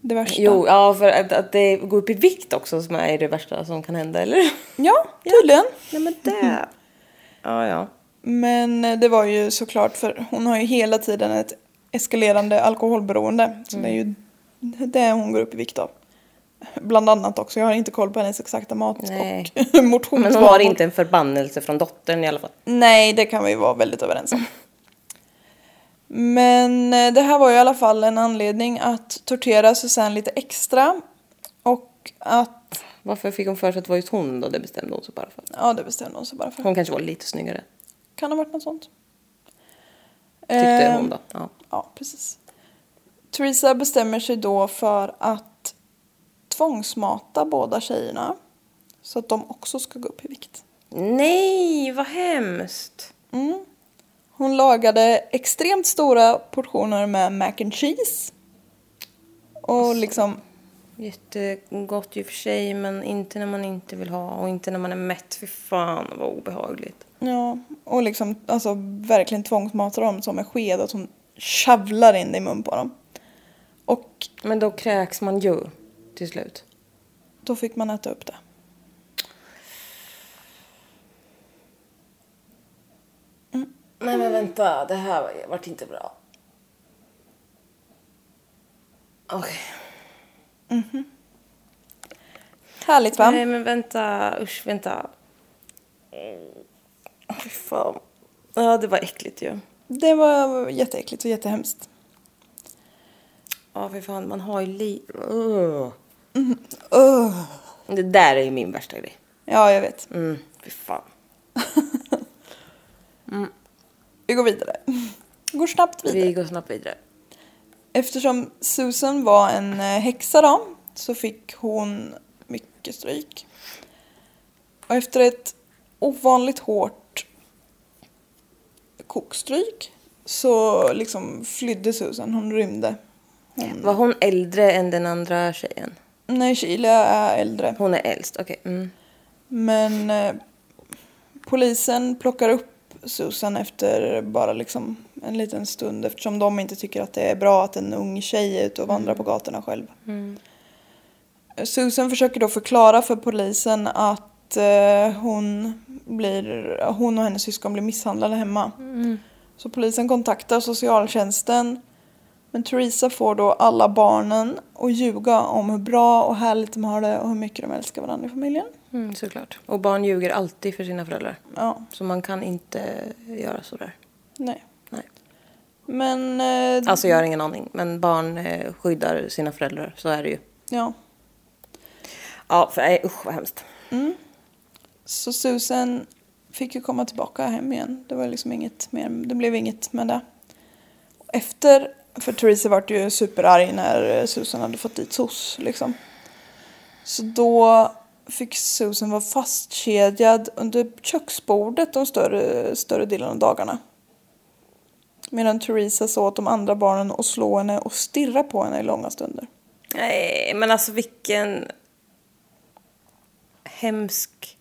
Det värsta.
Jo, ja för att, att det går upp i vikt också som är det värsta som kan hända, eller?
Ja, tydligen.
nej men det... ja, ja.
Men eh, det var ju såklart för hon har ju hela tiden ett eskalerande alkoholberoende. Så det är ju
Mm.
det hon går upp i vikt av. Bland annat också. Jag har inte koll på hennes exakta mat
Nej.
och motionsvanor.
Men hon har inte en förbannelse från dottern i alla fall.
Nej, det kan vi vara väldigt överens om. Men eh, det här var ju i alla fall en anledning att tortera Susanne lite extra. Och att...
Varför fick hon för sig att det var just hon då? Det bestämde hon sig bara för.
Ja, det bestämde hon sig bara för.
Hon kanske var lite snyggare.
Kan ha varit något sånt.
Tyckte
Ehm,
hon då. Ja.
Ja, precis. Theresa bestämmer sig då för att tvångsmata båda tjejerna så att de också ska gå upp i vikt.
Nej, vad hemskt!
Mm. Hon lagade extremt stora portioner med mac and cheese. Och liksom,
Jättegott ju för sig, men inte när man inte vill ha och inte när man är mätt. Fy fan vad obehagligt.
ja, och liksom alltså, verkligen tvångsmata dem som en sked. Att hon shavlar in det i mun på dem. Och
Men då kräks man ju till slut.
då fick man äta upp det.
Nej men vänta, det här vart inte bra. Okej.
Härligt va?
Nej men vänta, usch vänta. Åh, Fy fan. Ja det var äckligt ju.
Det var jätteäckligt och jättehemskt.
Ja fy fan man har ju li... Ugh.
Ugh.
Det där är ju min värsta grej.
Ja, jag vet.
Mm, fy fan.
Vi går vidare. Går snabbt vidare.
Vi går snabbt vidare.
Eftersom Susan var en eh, häxa då, så fick hon mycket stryk. Och efter ett ovanligt hårt kokstryk så liksom flydde Susan, hon rymde. Hon...
Var hon äldre än den andra tjejen?
Nej, Sheila är äldre.
Hon är äldst, okej. Mm.
Men eh, polisen plockar upp Susan efter bara liksom en liten stund eftersom de inte tycker att det är bra att en ung tjej är ute och vandrar på gatorna själv. Susan försöker då förklara för polisen att eh, hon, blir, hon och
Mm.
hennes syskon blir misshandlade hemma. Så polisen kontaktar socialtjänsten Men Theresa får då alla barnen att ljuga om hur bra och härligt de har det och hur mycket de älskar varandra i familjen.
Mm, såklart. Och barn ljuger alltid för sina föräldrar.
Ja,
Så man kan inte göra sådär.
nej.
Nej.
Men... Eh,
Alltså jag har ingen aning. Men barn eh, skyddar sina föräldrar. Så är det ju.
Ja.
Ja, för nej, usch vad hemskt.
Mm. Så Susan fick ju komma tillbaka hem igen. Det var liksom inget mer, det blev inget med det. Efter, för Therese vart ju superarg när eh, Susan hade fått dit SOS liksom. Så då fick Susan vara fastkedjad under köksbordet de större, större delen av dagarna. Medan Theresa sa åt de andra barnen att slå henne och stirra på henne i långa stunder.
Nej, men alltså vilken hemsk...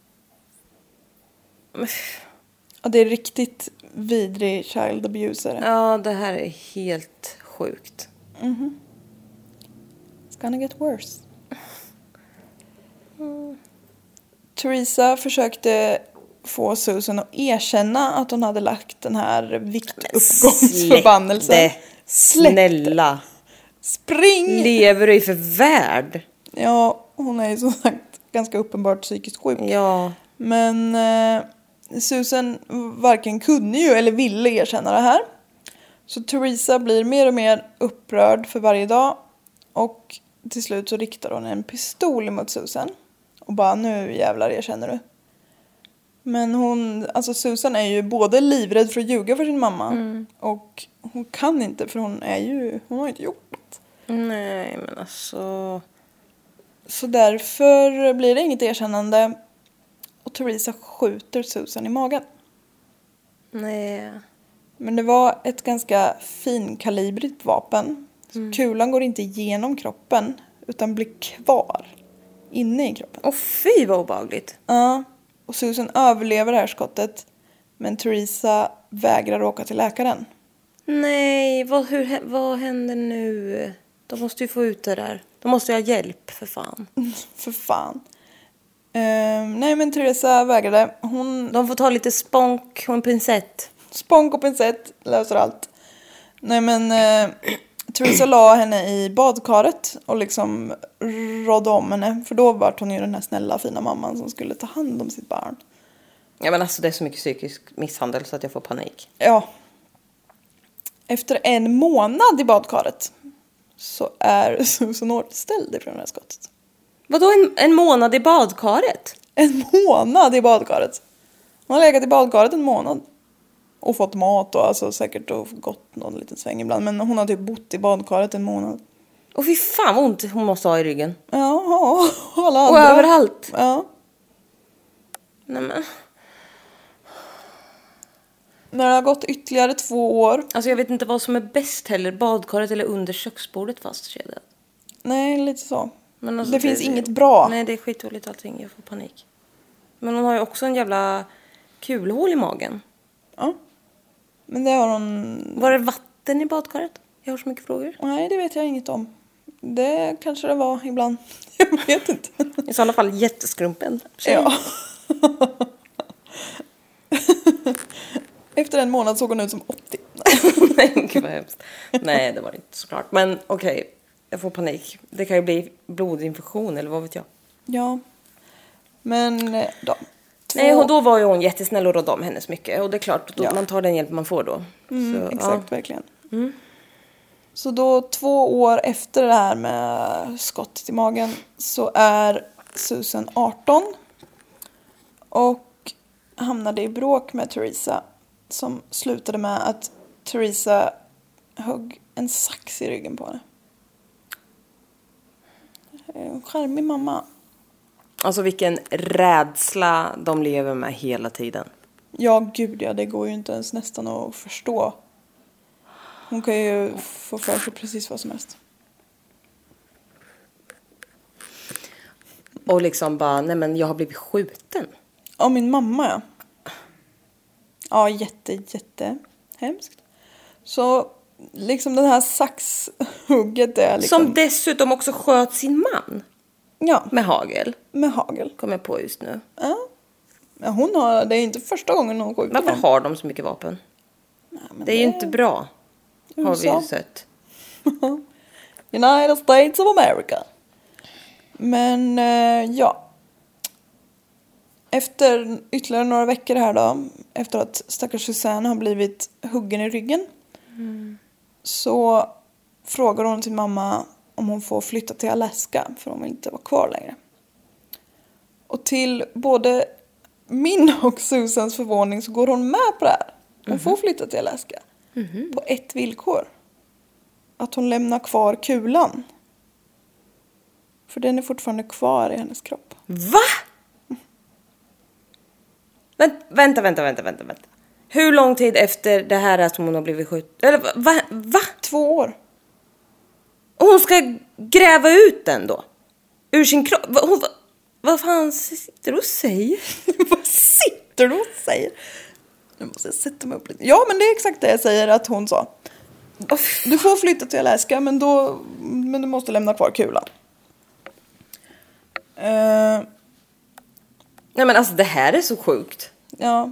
Ja, det är riktigt vidrig child abuser.
Ja, det här är helt sjukt.
Mhm. It's gonna get worse. Theresa försökte få Susan att erkänna att hon hade lagt den här viktuppgångsförbannelsen.
Släpp det. Snälla!
Spring!
Lever du i för värld?
Ja, hon är ju som sagt ganska uppenbart psykiskt sjuk.
Ja.
Men eh, Susan varken kunde ju eller ville erkänna det här. Så Theresa blir mer och mer upprörd för varje dag. Och till slut så riktar hon en pistol mot Susan. Och bara nu jävlar erkänner du. Men hon, alltså Susan är ju både livrädd för att ljuga för sin mamma
Mm.
och hon kan inte för hon är ju, hon har ju inte gjort något.
Nej, men alltså...
Så därför blir det inget erkännande och Theresa skjuter Susan i magen.
Nej.
Men det var ett ganska finkalibrigt vapen. Så Kulan går inte igenom kroppen utan blir kvar inne i kroppen.
Åh fy vad obehagligt.
Ja. Och Susan överlever det här skottet men Theresa vägrar åka till läkaren.
Nej, vad, hur, hä- vad händer nu? De måste ju få ut det där. De måste ju ha hjälp för fan.
För fan. Ehm, nej men Theresa vägrade. Hon
De får ta lite spånk och en pincett.
spånk och pincett löser allt. Nej men eh, Theresa la henne i badkaret och liksom rådde om henne. För då var hon ju den här snälla fina mamman som skulle ta hand om sitt barn.
Ja men alltså det är så mycket psykisk misshandel så att jag får panik.
Ja. Efter en månad i badkaret så är Susan återställd ifrån det här skottet.
Vadå en, en månad i badkaret?
En månad i badkaret! Hon har legat i badkaret en månad. Och fått mat och alltså säkert och gått någon liten sväng ibland. Men hon har typ bott i badkaret en månad.
Och fy fan vad ont hon måste ha i ryggen.
Ja, och alla
Och
andra.
överallt.
Ja.
Nej men.
När det har gått ytterligare två år.
Alltså jag vet inte vad som är bäst heller. Badkaret eller under köksbordet fastkedjat.
Nej, lite så.
Men alltså,
det, finns inget bra.
Nej det är skitdåligt allting. Jag får panik. Men hon har ju också en jävla kulhål i magen.
Ja. Men det har hon
Var det vatten i badkaret? Jag har så mycket frågor.
Nej, det vet jag inget om. Det kanske det var ibland. Jag vet inte.
I sådana fall jätteskrumpen.
Ja. Efter en månad såg hon ut som 80.
Nej, gud vad hemskt. Nej, det var det inte såklart. Men okej, jag får panik. Det kan ju bli blodinfektion eller vad vet jag.
Ja. Men eh, då. Två...
Nej, och då var ju hon jättesnäll och rådde om hennes mycket. Och det är klart, då,
Ja.
man tar den hjälp man får då. Så,
Mm, exakt, verkligen. Så då två år efter det här med skottet i magen så är Susan 18 och hamnade i bråk med Theresa som slutade med att Theresa högg en sax i ryggen på henne. Eh, En charmig mamma.
Ja. Alltså vilken rädsla de lever med hela tiden.
Ja, gud ja, det går ju inte ens nästan att förstå. Hon kan ju få för sig precis vad som helst.
Och liksom bara, nej men jag har blivit skjuten.
Ja, min mamma ja. Ja, jätte, jätte hemskt. Så liksom den här saxhugget är liksom...
Som dessutom också sköt sin man
Ja,
med hagel.
med hagel.
Kommer jag på just nu.
Ja. Ja, hon har... Det är inte första gången hon skjuter
Varför
någon.
har de så mycket vapen?
Nej, men
Det är ju inte bra. Har vi
USA.
ju sett.
United States of America. Men eh, ja. Efter ytterligare några veckor här då, efter att stackars Susanne har blivit huggen i ryggen. Så frågar hon till mamma om hon får flytta till Alaska för hon vill inte vara kvar längre. Och till både min och Susans förvåning så går hon med på det här. Hon får flytta till Alaska. På ett villkor. Att hon lämnar kvar kulan. För den är fortfarande kvar i hennes kropp.
Va? Vänt, vänta, vänta, vänta, vänta, vänta. Hur lång tid efter det här är som hon har blivit skjuten? Eller va- va? va?
Två år.
Och hon ska gräva ut den då? Ur sin kropp? Va, hon, va, vad fan sitter du och säger?
Vad sitter du och säger? Nu måste jag sätta mig upp lite. Ja, men det är exakt det jag säger att hon sa.
Åh, f-
Du får flytta till Alaska men, då, men du måste lämna kvar kulan. Eh,
Nej men alltså det här är så sjukt.
ja.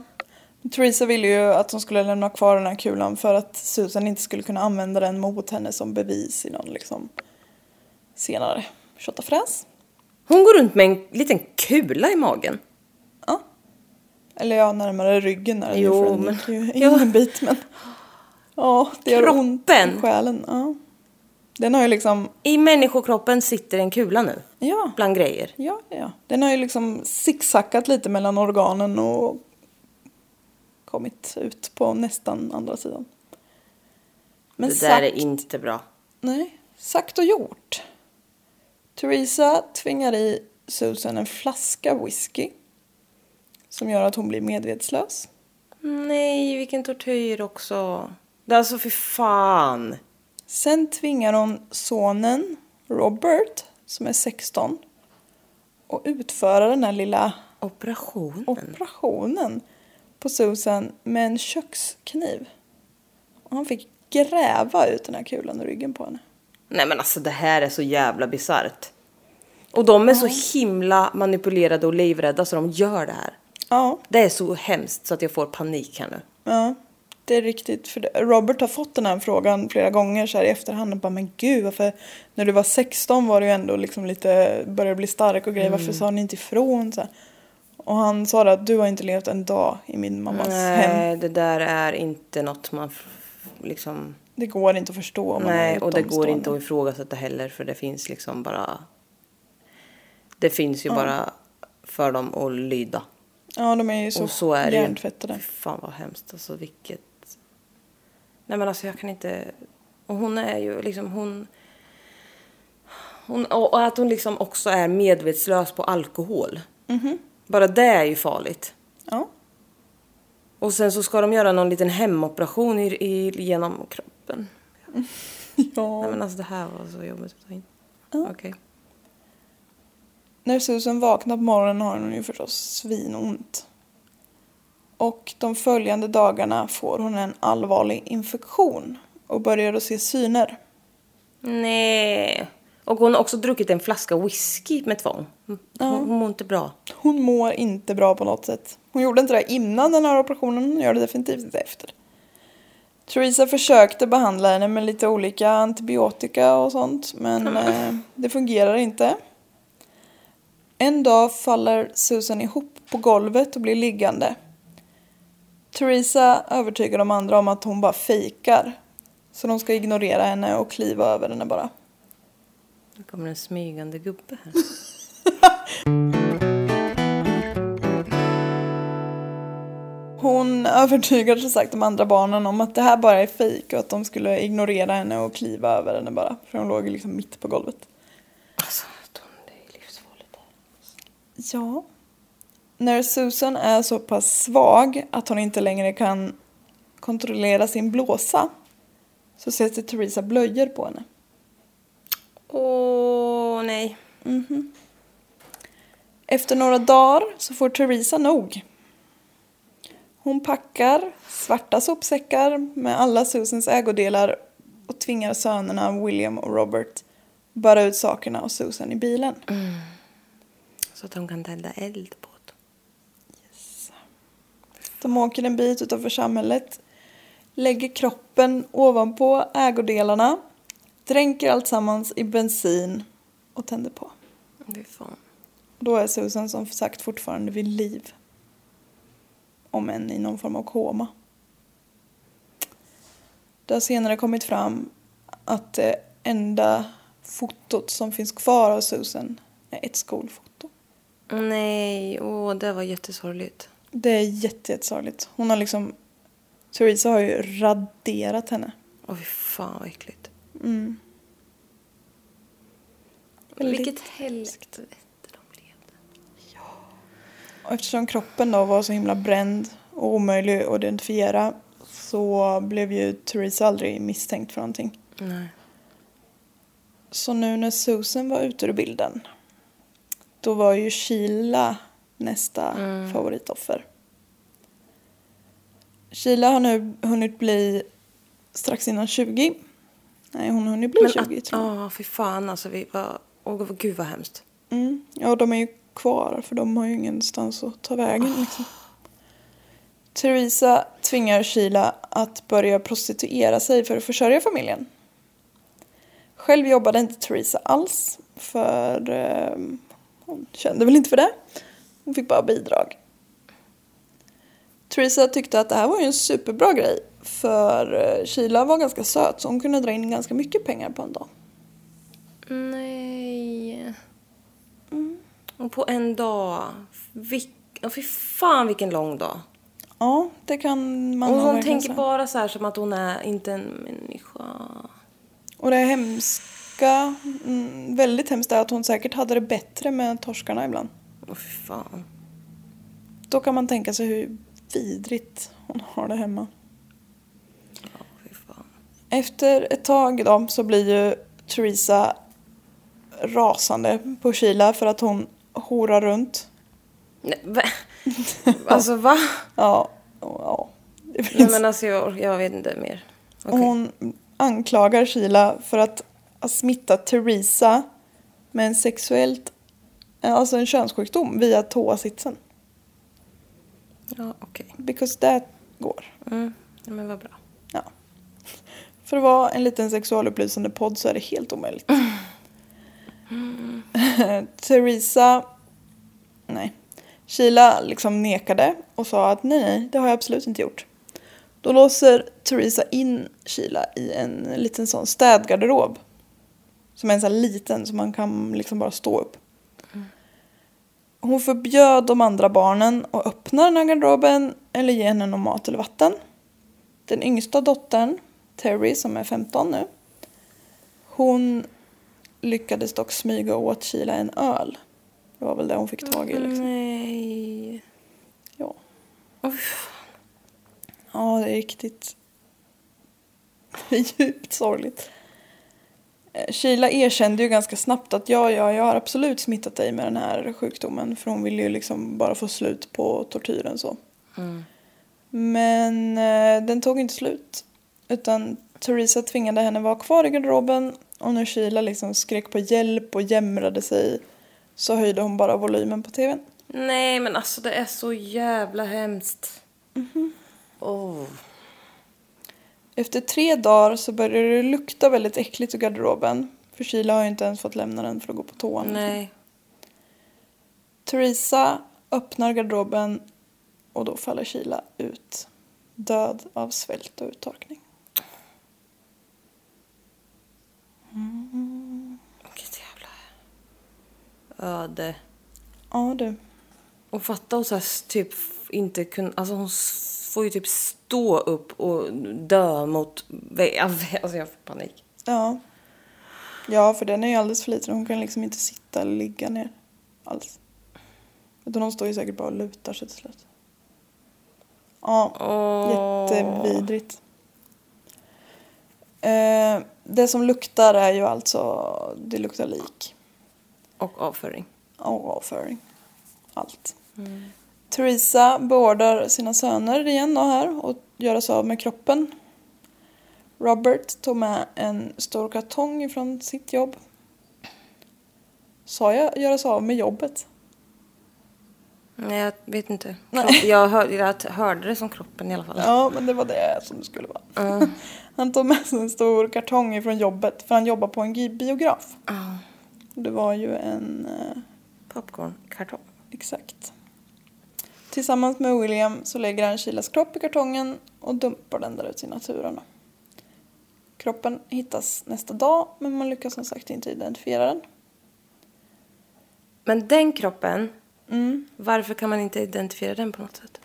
Theresa ville ju att hon skulle lämna kvar den här kulan för att Susan inte skulle kunna använda den mot henne som bevis i någon liksom senare tjottafräs.
Hon går runt med en liten kula i magen.
Ja. Eller ja, närmare ryggen är det ju,
Jo,
för den
men-
gick ju in
Ja.
en bit men... Ja, det gör ont i
Kroppen.
själen. Ja. Den har ju liksom...
I människokroppen sitter en kula nu.
Ja.
Bland grejer.
Ja, ja. Den har ju liksom zigzackat lite mellan organen och kommit ut på nästan andra sidan. Men
det där
sagt,
är inte bra.
nej, sagt och gjort. Theresa tvingar i Susan en flaska whisky som gör att hon blir medvetslös.
Nej, vilken tortyr också. Det är alltså för fan.
Sen tvingar hon sonen Robert, som är 16, att utföra den här lilla
Operationen.
operationen på Susan med en kökskniv. Och han fick gräva ut den här kulan ur ryggen på henne.
Nej men alltså det här är så jävla bisarrt. Och de är så himla manipulerade och livrädda så de gör det här.
Ja,
Det är så hemskt så att jag får panik här nu.
ja. Det är riktigt. För det- Robert har fått den här frågan flera gånger så här i efterhand. Och bara, men gud, varför? När du var 16 var du ju ändå liksom lite, började bli stark och grejer.
Mm.
Varför sa ni inte ifrån? Så här. Och han sa det att du har inte levt en dag i min mammas hem.
Nej, det där är inte något man f- liksom...
Det går inte att förstå. Om man är
Nej, och det går
utomstående.
inte att ifrågasätta heller för det finns liksom bara... Det finns ju bara för dem att lyda.
Ja, de är ju så,
och så är det ju.
hjärntvättade.
Fy fan vad hemskt. Alltså vilket... Nej men alltså jag kan inte... Och hon är ju liksom hon... hon och och att hon liksom också är medvetslös på alkohol. Bara det är ju farligt.
Mhm. Ja.
Och sen så ska de göra någon liten hemoperation i, i, genom kroppen.
ja.
Nej men alltså det här var så jobbigt att ta in. Okej.
När Susan vaknar på morgonen har hon ju förstås svinont. Och de följande dagarna får hon en allvarlig infektion och börjar att se syner.
Nej. Och hon har också druckit en flaska whisky med tvång. Hon, hon mår inte bra.
Hon mår inte bra på något sätt. Hon gjorde inte det innan den här operationen, hon gör det definitivt inte efter. Theresa försökte behandla henne med lite olika antibiotika och sånt, men eh, det fungerar inte. En dag faller Susan ihop på golvet och blir liggande. Theresa övertygar de andra om att hon bara fejkar. Så de ska ignorera henne och kliva över henne bara.
Nu kommer en smygande gubbe här.
Hon övertygar som sagt de andra barnen om att det här bara är fejk och att de skulle ignorera henne och kliva över henne bara. För hon låg ju liksom mitt på golvet.
Alltså, Tom, det är livsfarligt här.
Ja. När Susan är så pass svag att hon inte längre kan kontrollera sin blåsa så sätter Theresa blöjor på henne.
Åh, nej.
Mhm. Efter några dagar så får Theresa nog. Hon packar svarta sopsäckar med alla Susans ägodelar och tvingar sönerna William och Robert bära ut sakerna och Susan i bilen.
Så att de kan tända eld på det.
De åker en bit utanför samhället, lägger kroppen ovanpå ägodelarna, dränker alltsammans i bensin och tänder på.
Fy fan.
Och då är Susan som sagt fortfarande vid liv. Om än i någon form av koma. Det har senare kommit fram att det enda fotot som finns kvar av Susan är ett skolfoto.
Åh, nej, åh, det var jättesorgligt.
Det är jätte- jättesorgligt. Hon har liksom... Theresa har ju raderat henne.
Åh, fy fan vad äckligt.
Mm. Väldigt
Vilket helvete de levde.
Och eftersom kroppen då var så himla bränd och omöjlig att identifiera så blev ju Theresa aldrig misstänkt för någonting.
Nej.
Så nu när Susan var ute ur bilden då var ju Sheila nästa
Mm.
favoritoffer. Sheila har nu hunnit bli strax innan 20. Nej, hon har hunnit bli 20
att,
tror jag.
ja, fy fan alltså. Vi var, åh, vad- gud vad hemskt.
Mm. Ja, de är ju kvar för de har ju ingenstans att ta vägen.
Ah.
Liksom. Theresa tvingar Sheila att börja prostituera sig för att försörja familjen. Själv jobbade inte Theresa alls för eh, hon kände väl inte för det. Hon fick bara bidrag. Theresa tyckte att det här var ju en superbra grej för eh, Sheila var ganska söt så hon kunde dra in ganska mycket pengar på en dag.
Nej.
Mm.
Och på en dag. Vilk, åh, fy fan vilken lång dag.
Ja, det kan man
och
nog
hon
verkligen
tänker
säga.
bara så här som att hon är inte en människa.
Och det hemska, mm, väldigt hemskt, är att hon säkert hade det bättre med torskarna ibland.
Åh fy fan.
Då kan man tänka sig hur vidrigt hon har det hemma.
Ja, fy fan.
Efter ett tag då så blir ju Theresa rasande på Sheila för att hon horar runt.
Nej, va? Alltså va?
Ja, och ja. Det finns.
Nej men alltså jag, jag vet inte mer. Okej.
Och hon anklagar Sheila för att ha smittat Theresa med en sexuellt, alltså en könssjukdom via toasitsen.
Ja okej.
Because that går.
Mm. Ja, men vad bra.
Ja. För att vara en liten sexualupplysande podd så är det helt omöjligt. Theresa... Nej. Sheila liksom nekade och sa att nej, nej, det har jag absolut inte gjort. Då låser Theresa in Sheila i en liten sån städgarderob. Som är en sån här liten som man kan liksom bara stå upp. Hon förbjöd de andra barnen att öppna den här garderoben eller ge henne någon mat eller vatten. Den yngsta dottern, Terry, som är 15 nu, hon lyckades dock smyga åt Sheila en öl. Det var väl det hon fick tag i.
Mm.
Liksom.
Nej.
Ja.
Åh, fy fan.
Ja, det är riktigt det är djupt sorgligt. Eh, Sheila erkände ju ganska snabbt att ja, ja, jag har absolut smittat dig med den här sjukdomen för hon ville ju liksom bara få slut på tortyren så.
Mm.
Men eh, den tog inte slut. Utan Theresa tvingade henne vara kvar i garderoben och när Sheila liksom skrek på hjälp och jämrade sig så höjde hon bara volymen på tvn.
Nej men alltså det är så jävla hemskt.
Mhm.
Åh.
Efter tre dagar så började det lukta väldigt äckligt ur garderoben. För Sheila har ju inte ens fått lämna den för att gå på toan.
Nej.
Theresa öppnar garderoben och då faller Sheila ut. Död av svält och uttorkning.
Vilket jävla öde.
Ja du.
Och fatta och så här, typ inte kunna... Alltså hon s- får ju typ stå upp och dö mot... vä- Alltså jag får panik.
Ja. Ja, för den är ju alldeles för liten. Hon kan liksom inte sitta eller ligga ner alls. Utan hon står ju säkert bara och lutar sig till slut. Ja,
Åh.
jättevidrigt. Eh, det som luktar är ju alltså, det luktar lik
Och avföring.
och avföring. Allt. Theresa beordrar sina söner igen då här och göra sig av med kroppen. Robert tog med en stor kartong ifrån sitt jobb. Sa jag göra sig av med jobbet?
Nej, jag vet inte. Jag hörde, jag hörde det som kroppen i alla fall. Mm.
Ja, men det var det som det skulle vara. Han tog med sig en stor kartong ifrån jobbet för han jobbar på en gi- biograf.
Ah,
Det var ju en... eh,
popcornkartong.
Exakt. Tillsammans med William så lägger han Kilas kropp i kartongen och dumpar den där ute i naturen. Kroppen hittas nästa dag men man lyckas som sagt inte identifiera den.
Men den kroppen, Mm. varför kan man inte identifiera den på något sätt?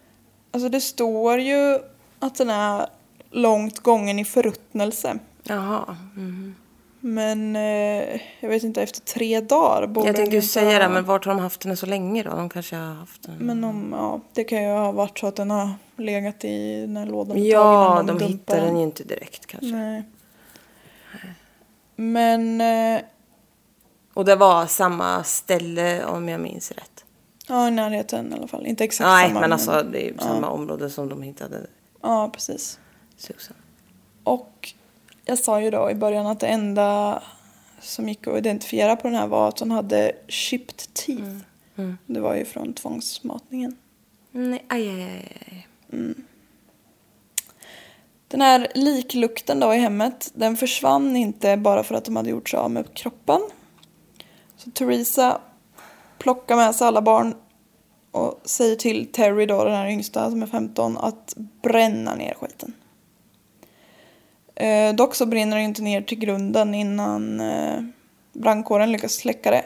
Alltså det står ju att den är långt gången i förruttnelse.
Jaha. mhm.
Men eh, jag vet inte, efter tre dagar borde
Jag
den
tänkte ju
inte
säga
ha-
det, men vart har de haft den så länge då? De kanske har haft den...
Men om, ja, det kan ju ha varit så att den har legat i den här lådan ett tag
Ja,
innan
de
dumpar
hittar den ju inte direkt kanske.
Nej. Men, eh,
Och det var samma ställe om jag minns rätt.
ja i närheten i alla fall. Inte exakt
Nej,
samma.
men alltså det är ju samma område som de hittade
Ja, precis.
Susan.
Och jag sa ju då i början att det enda som gick att identifiera på den här var att hon hade chipped teeth.
Mm.
Det var ju från tvångsmatningen.
Nej, aj, aj, aj, aj.
Den här liklukten då i hemmet, den försvann inte bara för att de hade gjort sig av med kroppen. Så Theresa plockar med sig alla barn och säger till Terry då, den här yngsta som är 15, att bränna ner skiten. Eh, dock så brinner det ju inte ner till grunden innan eh, brandkåren lyckas släcka det.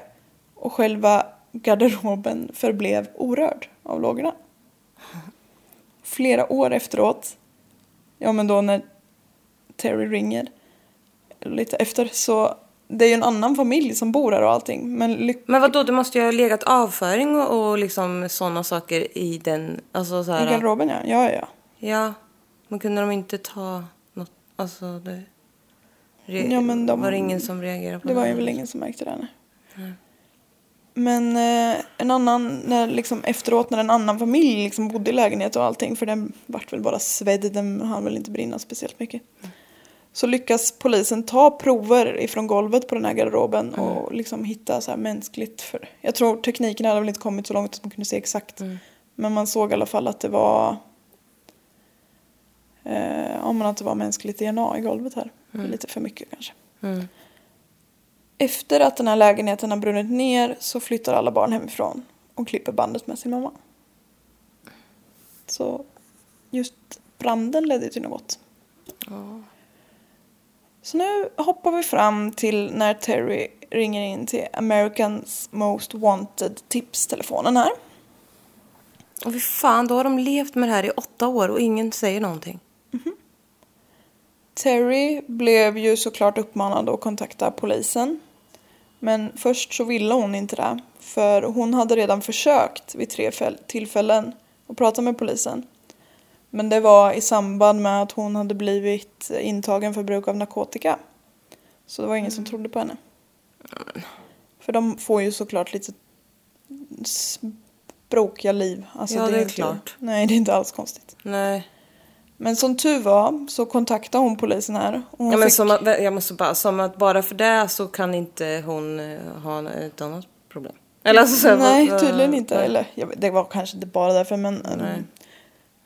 Och själva garderoben förblev orörd av lågorna. Flera år efteråt Ja men då när Terry ringer lite efter så det är ju en annan familj som bor här och allting men ly-
Men vadå, det måste ju ha legat avföring och, och liksom sådana saker i den... Alltså så
i
här...
garderoben ja. Ja ja, ja.
Ja, men kunde de inte ta något? Alltså det... Re...
Ja, men de-
Var det ingen som reagerade på
Det var ju
här?
väl ingen som märkte det. nej. Men eh, en annan, när, liksom, efteråt när en annan familj liksom bodde i lägenhet och allting för den vart väl bara svedd, den hann väl inte brinna speciellt mycket. Så lyckas polisen ta prover ifrån golvet på den här garderoben och liksom hitta så här mänskligt. För, jag tror tekniken hade väl inte kommit så långt att man kunde se exakt. Men man såg i alla fall att det var eh, ja, men att det var mänskligt DNA i golvet här. Lite för mycket kanske.
Mm.
Efter att den här lägenheten har brunnit ner så flyttar alla barn hemifrån och klipper bandet med sin mamma. Så just branden ledde till något gott. Så nu hoppar vi fram till när Terry ringer in till Americans Most Wanted tips-telefonen här.
Och fy fan, då har de levt med det här i åtta år och ingen säger någonting.
Terry blev ju såklart uppmanad att kontakta polisen. Men först så ville hon inte det. För hon hade redan försökt vid tre fäll- tillfällen att prata med polisen. Men det var i samband med att hon hade blivit intagen för bruk av narkotika. Så det var ingen som
Mm.
trodde på henne. För de får ju såklart lite s- bråkiga liv. Alltså,
Ja, det är
inte-
klart.
Nej, det är inte alls konstigt.
Nej.
Men som tur var så kontaktade hon polisen här. Och hon
Ja, men
fick-
som att, jag måste bara, som att bara för det så kan inte hon eh, ha ett annat problem. Eller alltså, så här, vad-
Nej,
vad-
tydligen inte.
nej.
Eller, jag vet, det var kanske inte bara därför men... ehm,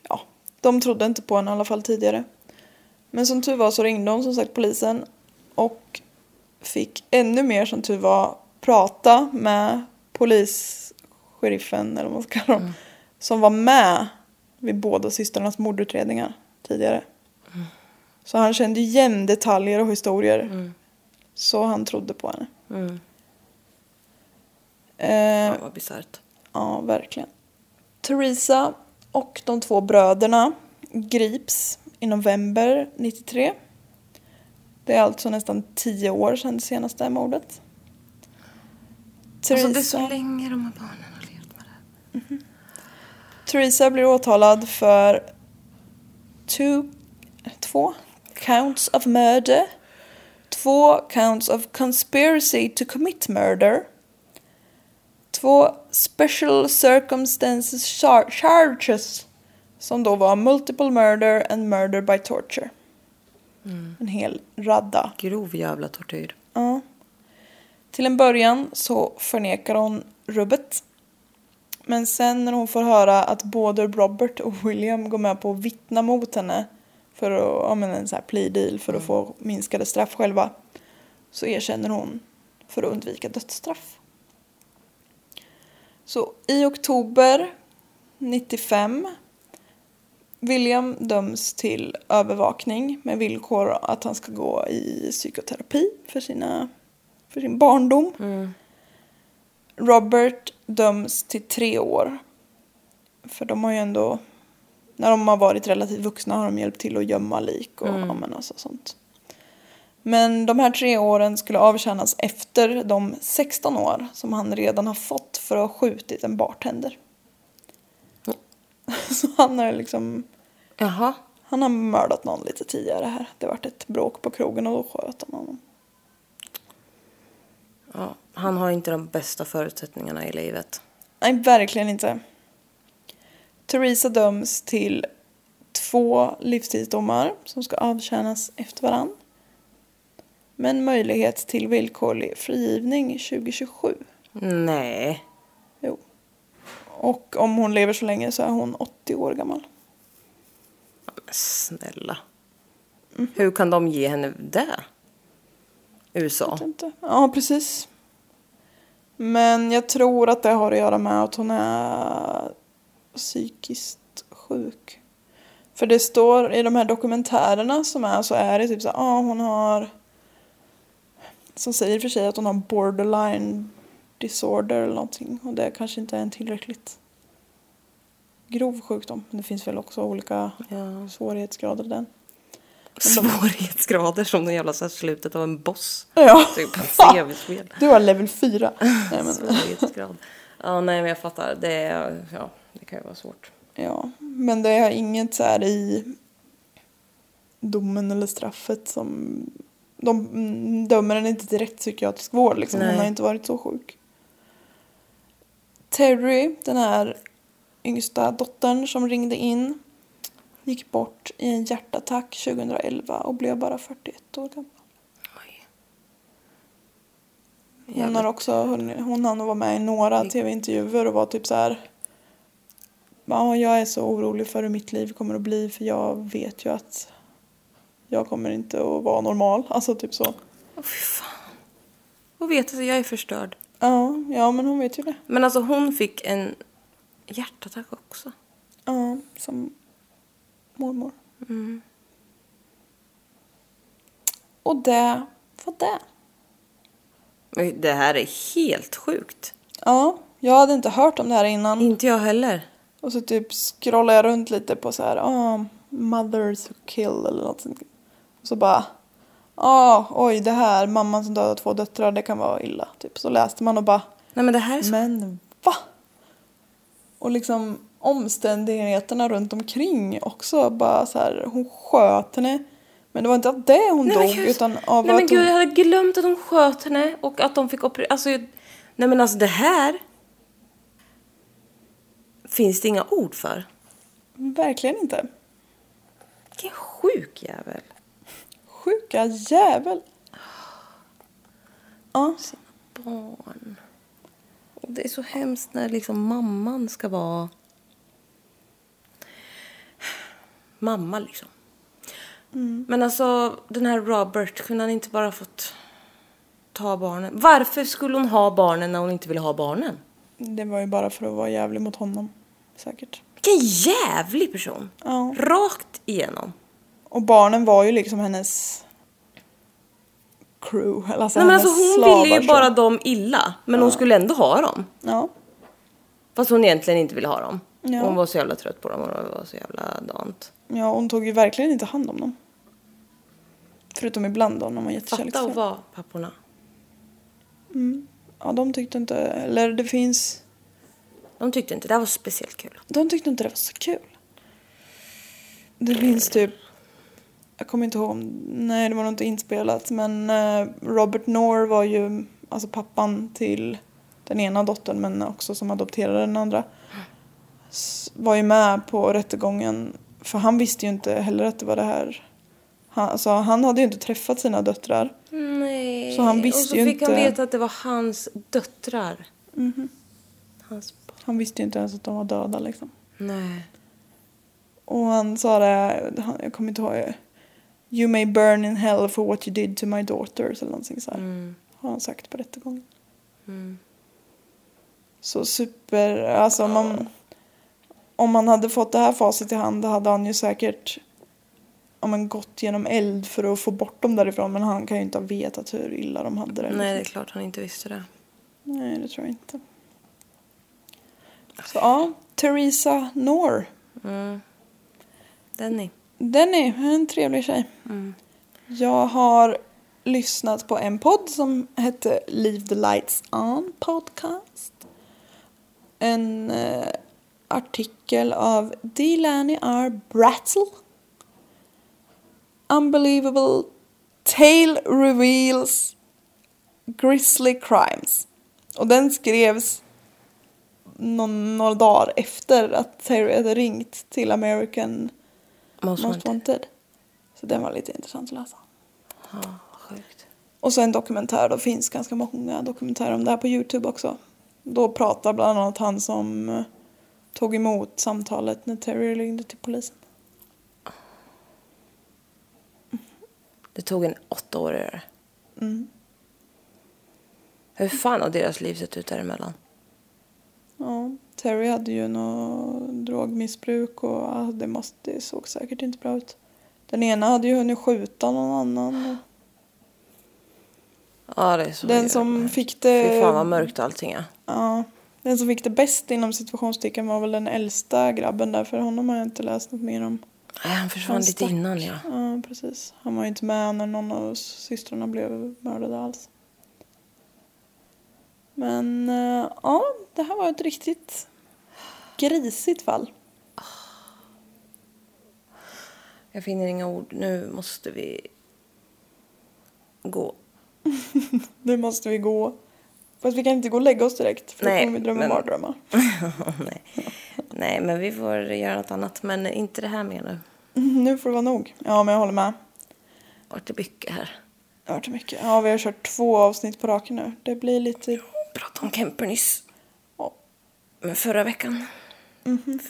ja, de trodde inte på henne i alla fall tidigare. Men som tur var så ringde de som sagt polisen och fick ännu mer som tur var prata med polissheriffen eller vad man ska kalla dem.
Mm.
Som var med vid båda systrarnas mordutredningar tidigare.
Mm.
Så han kände igen detaljer och historier.
Mm,
Så han trodde på henne. Eh,
Ja, vad bisarrt.
Ja, verkligen. Theresa och de två bröderna grips i november 93. Det är alltså nästan tio år sedan det senaste mordet.
Alltså, det är så länge de här barnen har levt med det. här.
Theresa blir åtalad för two, två counts of murder, två counts of conspiracy to commit murder, två special circumstances char- charges som då var multiple murder and murder by torture. En hel radda.
Mm. Grov jävla tortyr.
Ja. Till en början så förnekar hon rubbet. Men sen när hon får höra att både Robert och William går med på att vittna mot henne för att, ja men en så här plea deal för att få minskade straff själva. Så erkänner hon för att undvika dödsstraff. Så i oktober 95 William döms till övervakning med villkor att han ska gå i psykoterapi för, sina, för sin barndom. Robert döms till tre år. För de har ju ändå, när de har varit relativt vuxna har de hjälpt till att gömma lik och ja, men alltså sånt. Men de här tre åren skulle avtjänas efter de 16 år som han redan har fått för att ha skjutit en bartender. Så han har liksom,
Jaha.
han har mördat någon lite tidigare här. Det vart ett bråk på krogen och då sköt han honom.
Ja, han har inte de bästa förutsättningarna i livet.
Nej, verkligen inte. Theresa döms till två livstidsdomar som ska avtjänas efter varann. Men möjlighet till villkorlig frigivning 2027.
Nej.
Jo. Och om hon lever så länge så är hon 80 år gammal.
Men Snälla.
Mhm.
Hur kan de ge henne det? USA?
Vet Inte. Ja, precis. Men jag tror att det har att göra med att hon är psykiskt sjuk. För det står i de här dokumentärerna som är så är det typ så här, ja hon har som säger i och för sig att hon har borderline disorder eller någonting och det kanske inte är en tillräckligt grov sjukdom. Men det finns väl också olika
Ja.
svårighetsgrader i den.
Svårighetsgrader som den jävla så här slutet av en boss.
Ja.
Typ ett tv-spel.
Du har level 4. Nej, men,
Svårighetsgrad. Ja, nej men jag fattar. Det, är, ja, det kan ju vara svårt.
Ja, men det är inget så här i domen eller straffet som... De mm, dömer henne inte till rätt psykiatrisk vård liksom. Hon
Nej.
har inte varit så sjuk. Terry, den här yngsta dottern som ringde in, gick bort i en hjärtattack 2011 och blev bara 41 år gammal.
Oj.
Hon har också hunnit, hon hann vara med i några tv-intervjuer och var typ så här. Ja, jag är så orolig för hur mitt liv kommer att bli för jag vet ju att jag kommer inte att vara normal. Alltså typ så.
Åh, fy fan. Och vet att jag är förstörd.
Ja, ja men hon vet ju det.
Men alltså hon fick en hjärtattack också.
Ja, Mm. som mormor. Och det var det.
Men Det här är helt sjukt.
Ja, jag hade inte hört om det här innan.
Mm. Inte jag heller.
Och så typ scrollade jag runt lite på så här, ah, mothers who kill eller något sånt. Och så bara, ah, oj det här, mamman som dödade två döttrar, det kan vara illa. Typ så läste man och bara,
Nej men det här är så...
men va? Och liksom omständigheterna runt omkring också bara så här, hon sköt henne. Men det var inte av det hon
Nej, men
dog
gud.
utan av
Nej men
att hon...
gud, jag hade glömt att de sköt henne och att de fick operera. Alltså, jag... nej men alltså det här... Finns det inga ord för.
Verkligen inte.
Vilken sjuk jävel.
Sjuka jävel. Ja,
Barn. Och det är så hemskt när liksom mamman ska vara... Mamma liksom. Men alltså den här Robert, kunde han inte bara fått ta barnen? Varför skulle hon ha barnen när hon inte ville ha barnen?
det var ju bara för att vara jävlig mot honom. Säkert.
Vilken jävlig person!
Ja.
Rakt igenom.
Och barnen var ju liksom hennes crew. eller Alltså
Nej, men
hennes
alltså, hon
slavar,
ville ju
så.
bara dem illa, men hon skulle ändå ha dem.
Ja.
Fast hon egentligen inte ville ha dem.
Ja.
Hon var så jävla trött på dem och det var så jävla dant.
ja, hon tog ju verkligen inte hand om dem. Förutom ibland då när man var
Fatta
jättekärleksfull.
att vara papporna.
Ja, de tyckte inte... Eller det finns...
De tyckte inte det här var speciellt kul.
De tyckte inte det var så kul. Det finns typ... Jag kommer inte ihåg om... Nej, det var nog inte inspelat. Men eh, Robert Knorr var ju alltså pappan till den ena dottern men också som adopterade den andra. S- Var ju med på rättegången. För han visste ju inte heller att det var det här. Han, alltså, han hade ju inte träffat sina döttrar.
Nej.
Så han visste
och så
ju
fick han
inte-
veta att det var hans döttrar. Hans barn.
Han visste ju inte ens att de var döda liksom.
Nej.
Och han sa det, han, jag kommer inte ihåg. You may burn in hell for what you did to my daughters eller någonting så här.
Mm.
Har han sagt på rättegången.
Mm.
Så super, alltså om man, om man hade fått det här facit i hand hade han ju säkert ja, men, gått genom eld för att få bort dem därifrån men han kan ju inte ha vetat hur illa de hade det.
Nej, det är
liksom.
klart han inte visste det.
Nej, det tror jag inte. Så ja, Theresa Noor.
Mm. Denny.
Den är en trevlig tjej.
Mm.
Jag har lyssnat på en podd som hette Leave the Lights On Podcast. En eh, artikel av Delaney R. Brattle. Unbelievable Tale Reveals Grizzly Crimes. Och den skrevs någon, några dagar efter att Terry hade ringt till American
Most
Most
wanted.
Wanted. Så den var lite intressant att läsa.
Ja, sjukt.
Och så en dokumentär, det finns ganska många dokumentärer om det här på Youtube också. Då pratar bland annat han som eh, tog emot samtalet när Terry ringde till polisen.
Det tog en åtta år att göra det.
Mm.
Hur fan har deras liv sett ut däremellan?
Ja, Terry hade ju något drogmissbruk och ja, det, måste, det såg säkert inte bra ut. Den ena hade ju hunnit skjuta någon annan.
Ja, det är så
Den
jävla
som
hemskt.
fick eh, det...
Fy fan vad mörkt allting är.
Ja. Den som fick det bäst inom situationstecken var väl den äldsta grabben där, för honom har jag inte läst något mer om.
Nej, han försvann
Han
lite
stack.
innan ja.
Ja, precis. Han var ju inte med när någon av systrarna blev mördade alls. Men eh, ja, det här var ett riktigt grisigt fall.
Jag finner inga ord. Nu måste vi gå.
Nu måste vi gå. Fast vi kan inte gå och lägga oss direkt för
Nej,
då kommer vi drömma
men-
mardrömmar.
Nej. Nej, men vi får göra något annat. Men inte det här mer nu.
Nu får det vara nog. Ja, men jag håller med.
Vart det mycket här.
Det har varit mycket. Ja, vi har kört två avsnitt på raken nu. Det blir lite...
Prata om Kemper nyss.
Ja.
Men Förra veckan.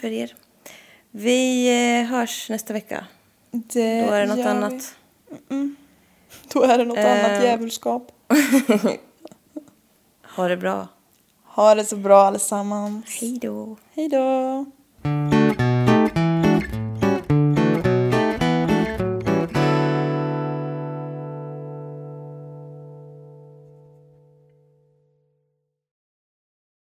För er. Vi eh, hörs nästa vecka. Då
Det
är det något
Eh, gör vi.
annat.
Då är det något annat
Eh.
djävulskap.
Ha det bra.
Ha det så bra allesammans.
Hej då.
Hej då!